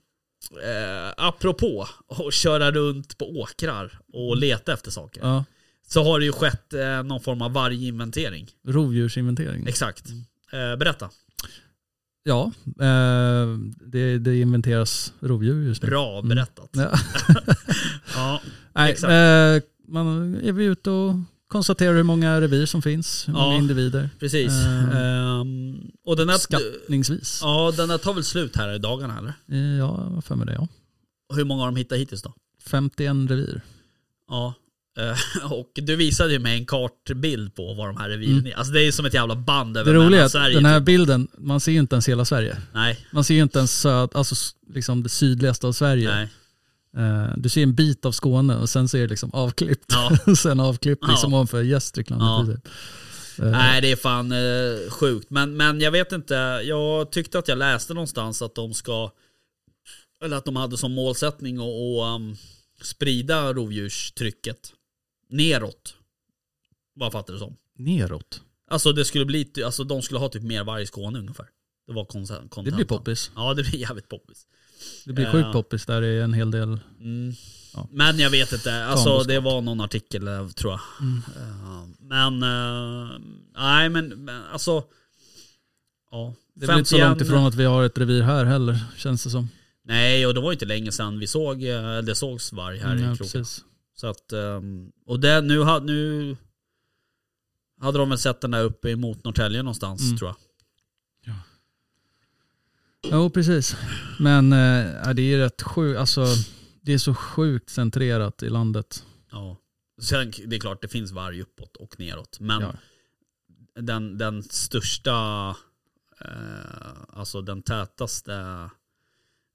Speaker 3: eh, apropå att köra runt på åkrar och leta efter saker.
Speaker 4: Mm. Ja,
Speaker 3: Så har det ju skett eh, någon form av varginventering.
Speaker 4: rovdjursinventering.
Speaker 3: Exakt.
Speaker 4: Mm.
Speaker 3: Eh, berätta.
Speaker 4: Ja, eh, det, det inventeras rovdjur just nu.
Speaker 3: Bra berättat.
Speaker 4: Mm. Ja.
Speaker 3: Ja.
Speaker 4: Nej,
Speaker 3: Exakt.
Speaker 4: eh, man är vi ute och konstaterar hur många revir som finns, hur många
Speaker 3: Ja.
Speaker 4: individer.
Speaker 3: Precis.
Speaker 4: Ehm,
Speaker 3: Ehm, och den här,
Speaker 4: Skattningsvis.
Speaker 3: ja, den här tar väl slut här i dagarna eller?
Speaker 4: Eh, Ja, jag har för mig det ja.
Speaker 3: Och Hur många har de hittat hittills då?
Speaker 4: 51 revir.
Speaker 3: Ja. Eh, Och du visade ju mig en kartbild på vad de här reviren är. Alltså det är ju som ett jävla band
Speaker 4: Mm. Det
Speaker 3: över
Speaker 4: roliga är att
Speaker 3: Mellansverige
Speaker 4: den här
Speaker 3: typ.
Speaker 4: bilden, man ser ju inte ens hela Sverige.
Speaker 3: Nej,
Speaker 4: Man ser ju inte ens söd, alltså s- liksom det sydligaste av Sverige.
Speaker 3: nej.
Speaker 4: Eh, du ser en bit av Skåne och sen ser det liksom avklippt.
Speaker 3: Ja.
Speaker 4: sen avklippt liksom
Speaker 3: Ja.
Speaker 4: ovanför Gästrikland.
Speaker 3: Ja.
Speaker 4: i princip. Eh,
Speaker 3: Nej det är fan eh, sjukt. Men, men jag vet inte, jag tyckte att jag läste någonstans att de ska, eller att de hade som målsättning att och, um, sprida rovdjurstrycket neråt. Vad jag fattar det som.
Speaker 4: Neråt.
Speaker 3: Alltså det skulle bli, ty- alltså de skulle ha typ mer varg i Skåne ungefär. Det var konsen- kontentan.
Speaker 4: Det blir poppis.
Speaker 3: Ja det blir jävligt poppis.
Speaker 4: Det blir
Speaker 3: Eh.
Speaker 4: sjukt poppis där det är en hel del.
Speaker 3: Mm.
Speaker 4: Ja.
Speaker 3: Men jag vet inte, alltså
Speaker 4: Tamboskap.
Speaker 3: det var någon artikel eh, tror jag.
Speaker 4: Mm.
Speaker 3: Eh, Men, eh, nej men, men alltså. Ja.
Speaker 4: Det är väl inte så
Speaker 3: 51
Speaker 4: långt ifrån att vi har ett revir här heller känns det som.
Speaker 3: Nej, och det var ju inte länge sedan vi såg, eh, eller det sågs varg här
Speaker 4: Mm, Ja,
Speaker 3: i kroken.
Speaker 4: precis.
Speaker 3: Så att, ehm, och det, nu, ha- nu hade de väl sett den där uppe emot Norrtälje någonstans
Speaker 4: Mm.
Speaker 3: tror jag.
Speaker 4: Jo, precis. Men eh, ja, det är rätt sjukt. Alltså, det är så sjukt centrerat i landet.
Speaker 3: Ja. Sen, det är klart, det finns varg uppåt och neråt. Men
Speaker 4: Ja.
Speaker 3: den, den största, eh, alltså den tätaste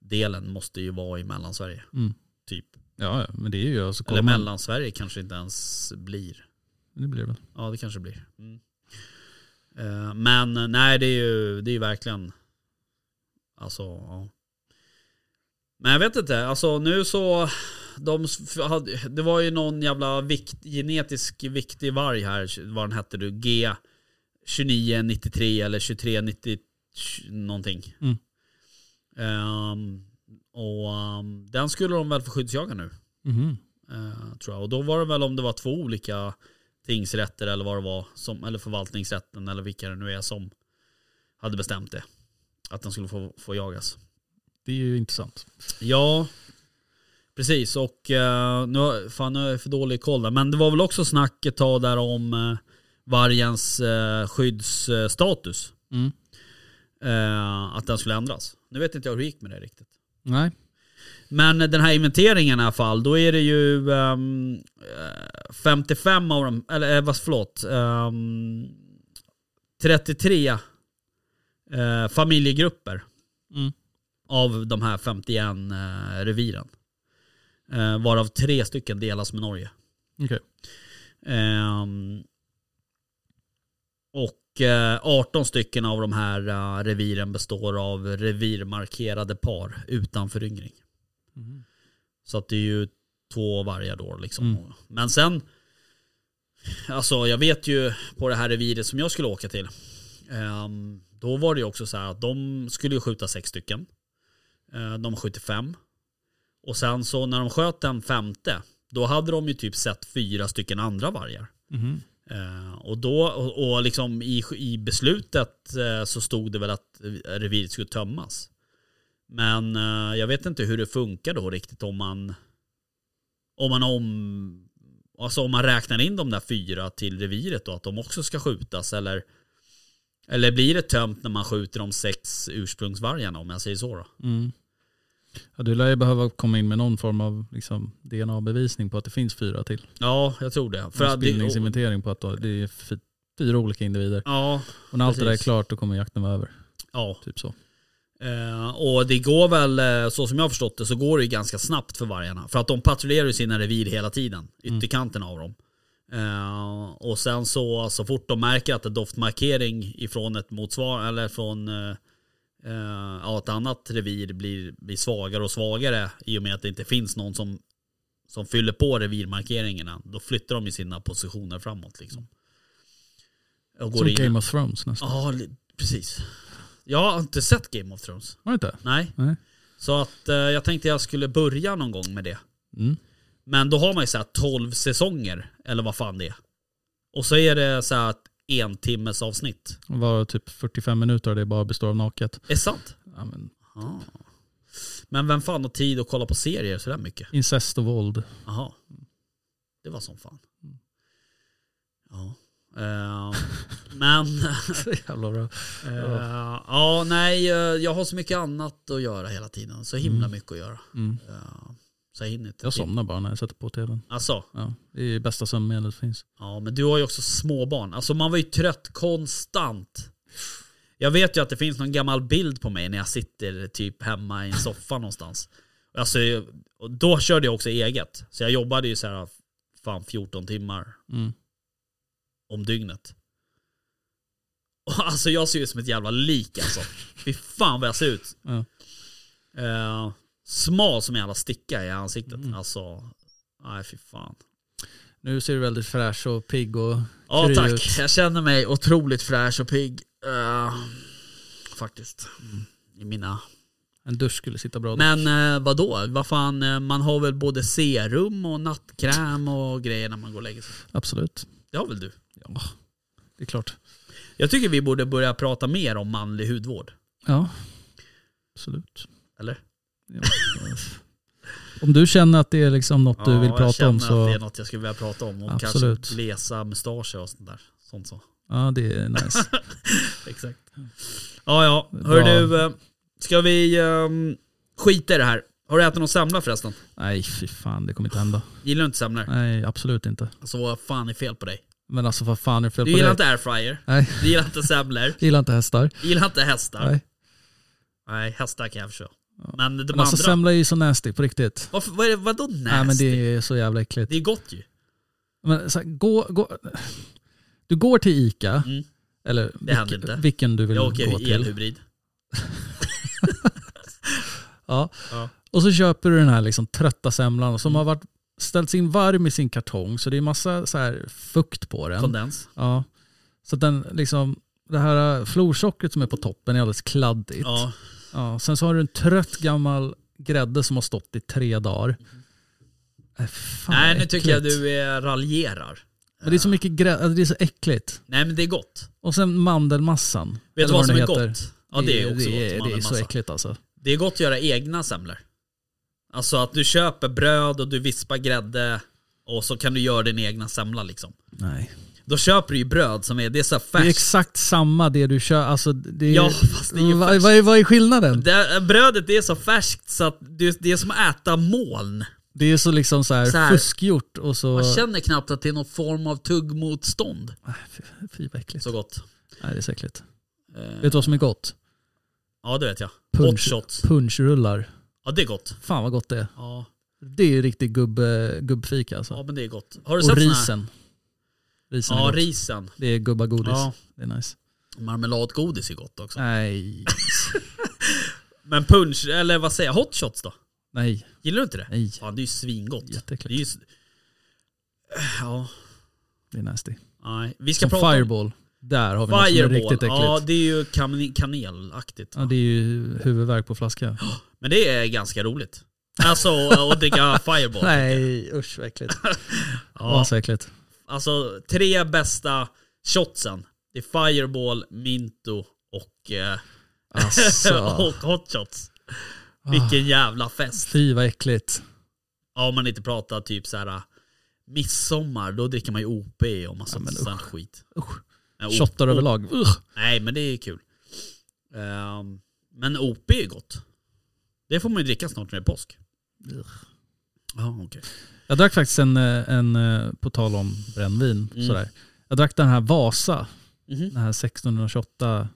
Speaker 3: delen måste ju vara i Mellansverige.
Speaker 4: Mm.
Speaker 3: Typ.
Speaker 4: Ja, ja, men det är ju... Alltså, kollar
Speaker 3: Eller
Speaker 4: man-
Speaker 3: Mellansverige kanske inte ens blir.
Speaker 4: Det blir det väl.
Speaker 3: Ja, det kanske blir. Mm. Eh, men eh, nej, det är ju det är ju verkligen... Alltså, ja. Men jag vet inte, alltså nu så... De, s- f- hade- det var ju någon jävla vikt, genetisk viktig varg här, vad den hette du? G2993 eller 2390 någonting.
Speaker 4: Mm.
Speaker 3: Ehm, och ehm, den skulle de väl få skyddsjaga nu?
Speaker 4: Mhm.
Speaker 3: eh, tror jag. Och då var det väl om det var två olika tingsrätter eller vad det var, som, eller förvaltningsrätten eller vilka det nu är som hade bestämt det. Att den skulle få, få jagas.
Speaker 4: Det är ju intressant.
Speaker 3: Ja, precis. Och eh, nu, har- fan, nu har jag för dålig koll där. Men det var väl också snack ett tag där om eh, vargens eh, skyddsstatus.
Speaker 4: Mm.
Speaker 3: Eh, att den skulle ändras. Nu vet inte jag hur det gick med det riktigt.
Speaker 4: Nej.
Speaker 3: Men den här inventeringen i alla fall, då är det ju ehm, eh, 55 av dem, eller eh, vad förlåt, ehm, 33 eh, familjegrupper
Speaker 4: Mm.
Speaker 3: av de här 51 eh, reviren. Eh, varav tre stycken delas med Norge.
Speaker 4: Okej.
Speaker 3: Ehm, och eh, 18 stycken av de här eh, reviren består av revirmarkerade par utan föryngring.
Speaker 4: Mhm.
Speaker 3: Så att det är ju två vargar då liksom.
Speaker 4: Mm.
Speaker 3: Men sen, alltså jag vet ju på det här reviret som jag skulle åka till. ehm, då var det ju också så här att de skulle ju skjuta sex stycken. Eh, de skjuter fem. Och sen så när de sköt den femte, då hade de ju typ sett fyra stycken andra vargar.
Speaker 4: Mhm.
Speaker 3: Eh, och då, och, och liksom i, i beslutet eh, så stod det väl att reviret skulle tömmas. Men eh, jag vet inte hur det funkar då riktigt om man om man om alltså om man räknar in de där fyra till reviret då att de också ska skjutas eller eller blir det tömt när man skjuter de sex ursprungsvargarna om jag säger så då?
Speaker 4: Mm. Ja, du lär ju behöva komma in med någon form av liksom, DNA-bevisning på att det finns fyra till.
Speaker 3: Ja, jag tror det. För
Speaker 4: För
Speaker 3: att det,
Speaker 4: Spillningsinventering på att då- det är fy- fyra olika individer.
Speaker 3: ja,
Speaker 4: Och när allt det där är
Speaker 3: precis.
Speaker 4: klart då kommer jakten vara över.
Speaker 3: ja.
Speaker 4: Typ så.
Speaker 3: Eh, och det går väl, eh, så som jag har förstått det, så går det ju ganska snabbt för vargarna. För att de patrullerar ju sina revir hela tiden,
Speaker 4: Mm.
Speaker 3: ytterkanten av dem. Eh, och sen så, så fort de märker att det är doftmarkering ifrån ett motsvar eller från eh, eh, ja, ett annat revir blir, blir svagare och svagare i och med att det inte finns någon som, som fyller på revirmarkeringarna, då flyttar de ju sina positioner framåt liksom. Och går
Speaker 4: Som
Speaker 3: in.
Speaker 4: Game of Thrones nästan.
Speaker 3: Ja, li- precis. Jag har inte sett Game of Thrones.
Speaker 4: Var det inte?
Speaker 3: Nej.
Speaker 4: Nej.
Speaker 3: Så att eh, jag tänkte jag skulle börja någon gång med det.
Speaker 4: Mm.
Speaker 3: Men då har man ju såhär 12 säsonger, eller vad fan det är. Och så är det såhär ett en timmes avsnitt.
Speaker 4: Det var typ 45 minuter och det bara består av naket.
Speaker 3: Är det sant?
Speaker 4: Ja, men
Speaker 3: Ja. Men vem fan har tid att kolla på serier sådär mycket?
Speaker 4: incest och våld.
Speaker 3: Jaha. Det var som fan. Ja. Eh, men...
Speaker 4: Så jävla bra.
Speaker 3: Eh, ja, nej, eh, jag har så mycket annat att göra hela tiden. Så himla mycket att göra.
Speaker 4: Mm.
Speaker 3: Eh, så jag hinner inte.
Speaker 4: Jag somnar bara när jag sätter på tvn.
Speaker 3: Alltså,
Speaker 4: Ja, det är bästa sömnmedlet finns.
Speaker 3: Ja, men du har ju också småbarn. Alltså man var ju trött konstant. Jag vet ju att det finns någon gammal bild på mig när jag sitter typ hemma i en soffa någonstans. Alltså, och då körde jag också eget. Så jag jobbade ju så här, fan 14 timmar
Speaker 4: Mm.
Speaker 3: om dygnet. Och alltså jag ser ut som ett jävla lik alltså. Fy fan vad jag ser ut.
Speaker 4: Ja.
Speaker 3: Eh, smal som en jävla sticka i ansiktet.
Speaker 4: Mm.
Speaker 3: Alltså, nej fy fan.
Speaker 4: Nu ser du väldigt fräsch och pigg och
Speaker 3: Ja
Speaker 4: kry
Speaker 3: tack,
Speaker 4: ut.
Speaker 3: jag känner mig otroligt fräsch och pigg. Eh, faktiskt. I mina...
Speaker 4: En dusch skulle sitta bra. Men,
Speaker 3: Men uh, vadå, vad fan, eh, man har väl både serum och nattkräm och grejer när man går och lägger sig.
Speaker 4: Absolut.
Speaker 3: Det har väl du?
Speaker 4: Ja, det är klart.
Speaker 3: Jag tycker vi borde börja prata mer om manlig hudvård.
Speaker 4: Ja, absolut.
Speaker 3: Eller?
Speaker 4: Ja. om du känner att det är liksom något du vill
Speaker 3: Ja, jag
Speaker 4: prata om
Speaker 3: känner att
Speaker 4: så...
Speaker 3: det är något jag skulle vilja prata om. Och
Speaker 4: Absolut.
Speaker 3: kanske glesa mustascher och sånt där. Sånt så.
Speaker 4: Ja, det är nice.
Speaker 3: Exakt. Ja, ja.
Speaker 4: Bra.
Speaker 3: Hör du, eh, Ska vi um, skita i det här? Har du ätit någon semla förresten?
Speaker 4: Nej, fy fan, det kommer inte hända.
Speaker 3: Gillar du inte semlor?
Speaker 4: Nej, absolut inte.
Speaker 3: Alltså vad fan är fel på dig?
Speaker 4: Men alltså vad fan är det fel
Speaker 3: Du
Speaker 4: på
Speaker 3: gillar
Speaker 4: dig?
Speaker 3: inte airfryer,
Speaker 4: Nej,
Speaker 3: du gillar inte semlor,
Speaker 4: gillar inte hästar.
Speaker 3: du gillar inte hästar. Nej,
Speaker 4: Nej.
Speaker 3: hästar kan jag förstå. Men de
Speaker 4: Men alltså
Speaker 3: andra,
Speaker 4: semla är ju så nasty på riktigt.
Speaker 3: varför, vad är det, vadå nasty?
Speaker 4: Nej men
Speaker 3: det...
Speaker 4: det är så jävla äckligt.
Speaker 3: är gott ju.
Speaker 4: Men så här, gå, gå, du går till Ica,
Speaker 3: Mm.
Speaker 4: eller
Speaker 3: händer inte.
Speaker 4: vilken, vilken du vill
Speaker 3: Jag
Speaker 4: gå
Speaker 3: åker ju
Speaker 4: till.
Speaker 3: elhybrid.
Speaker 4: Ja.
Speaker 3: Ja.
Speaker 4: Och så köper du den här liksom trötta semlan
Speaker 3: Mm.
Speaker 4: som har varit, ställts in varm i sin kartong så det är massa så här fukt på den.
Speaker 3: Kondens.
Speaker 4: Ja. Så att den liksom, det här florsockret som är på toppen är alldeles kladdigt.
Speaker 3: Ja.
Speaker 4: Ja, sen så har du en trött gammal grädde som har stått i tre dagar. Äh, fan,
Speaker 3: Mm. Nej nu
Speaker 4: äckligt.
Speaker 3: tycker jag du är, raljerar.
Speaker 4: Men det är så mycket grädde, alltså det är så äckligt.
Speaker 3: Nej men det är gott.
Speaker 4: Och sen mandelmassan.
Speaker 3: Vet
Speaker 4: eller
Speaker 3: du vad som
Speaker 4: den
Speaker 3: är
Speaker 4: heter.
Speaker 3: gott? Ja det är också
Speaker 4: det,
Speaker 3: gott.
Speaker 4: Det är så
Speaker 3: mandelmassa.
Speaker 4: äckligt alltså.
Speaker 3: Det är gott att göra egna semlor. Alltså att du köper bröd och du vispar grädde och så kan du göra din egna semla liksom.
Speaker 4: Nej.
Speaker 3: Då köper du ju bröd som är, det är så här
Speaker 4: Det är
Speaker 3: färskt.
Speaker 4: exakt samma det du kör, alltså det är Mm,
Speaker 3: Ja, fast det är ju
Speaker 4: vad,
Speaker 3: färskt.
Speaker 4: vad, är, vad är skillnaden?
Speaker 3: Det här- brödet det är så färskt så att det, det är som att äta moln.
Speaker 4: Det är så liksom så här,
Speaker 3: Så här.
Speaker 4: fuskgjort och så...
Speaker 3: Man känner knappt att det är någon form av tuggmotstånd.
Speaker 4: Äh, fy, fy vad äckligt.
Speaker 3: Så gott. Eh,
Speaker 4: Nej det är så äckligt. Vet du vad som är gott?
Speaker 3: Ja det vet jag. Hot
Speaker 4: Punch,
Speaker 3: shots.
Speaker 4: punchrullar.
Speaker 3: Ja det är gott.
Speaker 4: Fan vad gott det är.
Speaker 3: Ja,
Speaker 4: Det är ju riktigt gubb, gubbfika alltså.
Speaker 3: ja men det är gott. Har du
Speaker 4: och
Speaker 3: sett såna här-
Speaker 4: risen. Risen
Speaker 3: Ja
Speaker 4: är gott.
Speaker 3: risen.
Speaker 4: Det är gubbagodis.
Speaker 3: Ja.
Speaker 4: Det är nice.
Speaker 3: Marmeladgodis är gott också.
Speaker 4: Nej,
Speaker 3: Men punch, eller vad säger jag, hot shots då?
Speaker 4: nej,
Speaker 3: Gillar du inte det?
Speaker 4: nej.
Speaker 3: Fan det är ju svingott.
Speaker 4: Jätteäckligt.
Speaker 3: Det är ju... s- Ja,
Speaker 4: Det är nasty.
Speaker 3: nej. Vi ska
Speaker 4: Som
Speaker 3: prata
Speaker 4: fireball. Där har vi något som är
Speaker 3: Fireball,
Speaker 4: riktigt äckligt.
Speaker 3: ja
Speaker 4: Ja,
Speaker 3: det är ju kan- kanelaktigt.
Speaker 4: det... är ju huvudvärk på flaska.
Speaker 3: Men det är ganska roligt. Alltså att dricka Fireball.
Speaker 4: Nej, usch vad äckligt.
Speaker 3: Ja,
Speaker 4: så äckligt.
Speaker 3: alltså tre bästa shotsen. Det är Fireball, Minto och, eh,
Speaker 4: Alltså,
Speaker 3: och Hot Shots.
Speaker 4: Ah.
Speaker 3: Vilken jävla fest.
Speaker 4: fy vad äckligt.
Speaker 3: Ja, om man inte pratar typ så här midsommar, då dricker man ju OP och massa
Speaker 4: Ja, men
Speaker 3: sån skit.
Speaker 4: Usch.
Speaker 3: Nej, O-
Speaker 4: Shottar
Speaker 3: O-
Speaker 4: överlag. Ugh.
Speaker 3: Nej, men det är kul. Ehm, men OP är gott. Det får man ju dricka snart när det är påsk. Ja, okej.
Speaker 4: Jag drack faktiskt en, eh, en eh, på tal om brännvin,
Speaker 3: Mm.
Speaker 4: sådär. Jag drack den här Vasa,
Speaker 3: Mhm.
Speaker 4: den här 1628.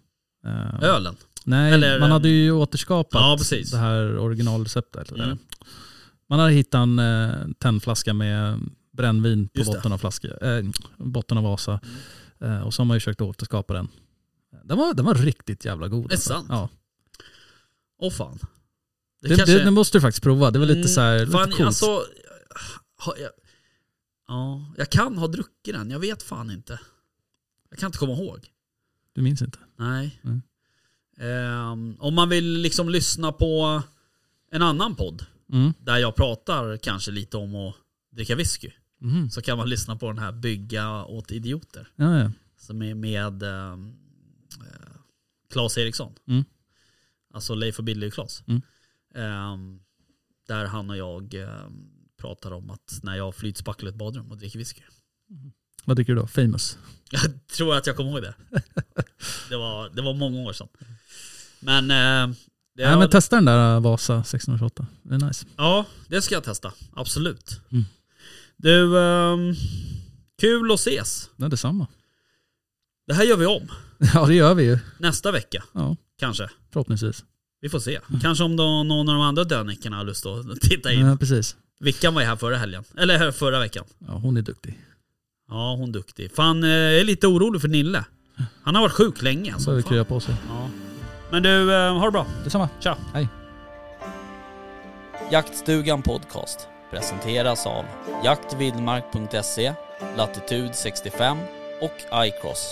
Speaker 4: eh,
Speaker 3: Ölen.
Speaker 4: Nej,
Speaker 3: Eller, eh,
Speaker 4: man hade ju
Speaker 3: ja,
Speaker 4: återskapat
Speaker 3: precis.
Speaker 4: det här originalreceptet.
Speaker 3: Mm.
Speaker 4: Man hade hittat en eh, tändflaska med brännvin på
Speaker 3: Just det. Mm.
Speaker 4: botten av, flaska, eh, botten av Vasa. Eh, och så har man ju försökt återskapa den. Den var, den var riktigt jävla god.
Speaker 3: Är det sant?
Speaker 4: Ja.
Speaker 3: Åh fan.
Speaker 4: Det, det,
Speaker 3: kanske-
Speaker 4: den måste du faktiskt prova. Det var lite
Speaker 3: Mm,
Speaker 4: så här, lite
Speaker 3: fan,
Speaker 4: coolt.
Speaker 3: Alltså, har jag, ja, jag kan ha druckit den, jag vet fan inte. Jag kan inte komma ihåg.
Speaker 4: Du minns inte?
Speaker 3: Nej.
Speaker 4: Mm.
Speaker 3: Ehm, om man vill liksom lyssna på en annan podd
Speaker 4: Mm.
Speaker 3: där jag pratar kanske lite om att dricka whisky
Speaker 4: Mhm.
Speaker 3: så kan man lyssna på den här Bygga åt idioter
Speaker 4: Ja, ja.
Speaker 3: som är med ehm, eh, Claes Eriksson.
Speaker 4: Mm.
Speaker 3: Alltså Leif och Billy och Claes.
Speaker 4: Mm.
Speaker 3: Ehm, där han och jag ehm, pratar om att när jag flytspacklar ett badrum och dricker whisky.
Speaker 4: Vad tycker du då? Famous?
Speaker 3: Jag tror att jag kommer ihåg det. det, var, det var många år sedan. Men, eh, det,
Speaker 4: Nej, men testa den där eh, Vasa 1628. Det är nice.
Speaker 3: ja, det ska jag testa. Absolut.
Speaker 4: Mm.
Speaker 3: Du, ehm, kul att ses.
Speaker 4: Det är detsamma.
Speaker 3: Det här gör vi om
Speaker 4: Ja, det gör vi ju.
Speaker 3: nästa vecka
Speaker 4: Ja,
Speaker 3: kanske.
Speaker 4: förhoppningsvis.
Speaker 3: Vi får se. Kanske om då någon av de andra dönickarna har lust att titta in.
Speaker 4: Ja, precis.
Speaker 3: Vickan var ju här förra helgen. Eller här förra veckan.
Speaker 4: Ja, hon är duktig.
Speaker 3: Ja, hon är duktig. Fan, eh, jag är lite orolig för Nille. Han har varit sjuk länge.
Speaker 4: Hon
Speaker 3: Alltså.
Speaker 4: behöver krya
Speaker 3: Fan.
Speaker 4: på sig.
Speaker 3: Ja. Men du, eh, ha det bra.
Speaker 4: Detsamma.
Speaker 3: Tja.
Speaker 4: Hej.
Speaker 5: Jaktstugan Podcast presenteras av jaktvildmark.se, Latitude 65 och iCross.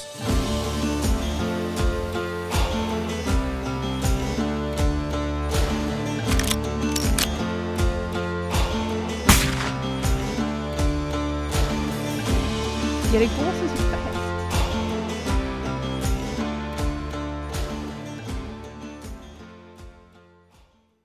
Speaker 2: Är det gåsen som ska hem?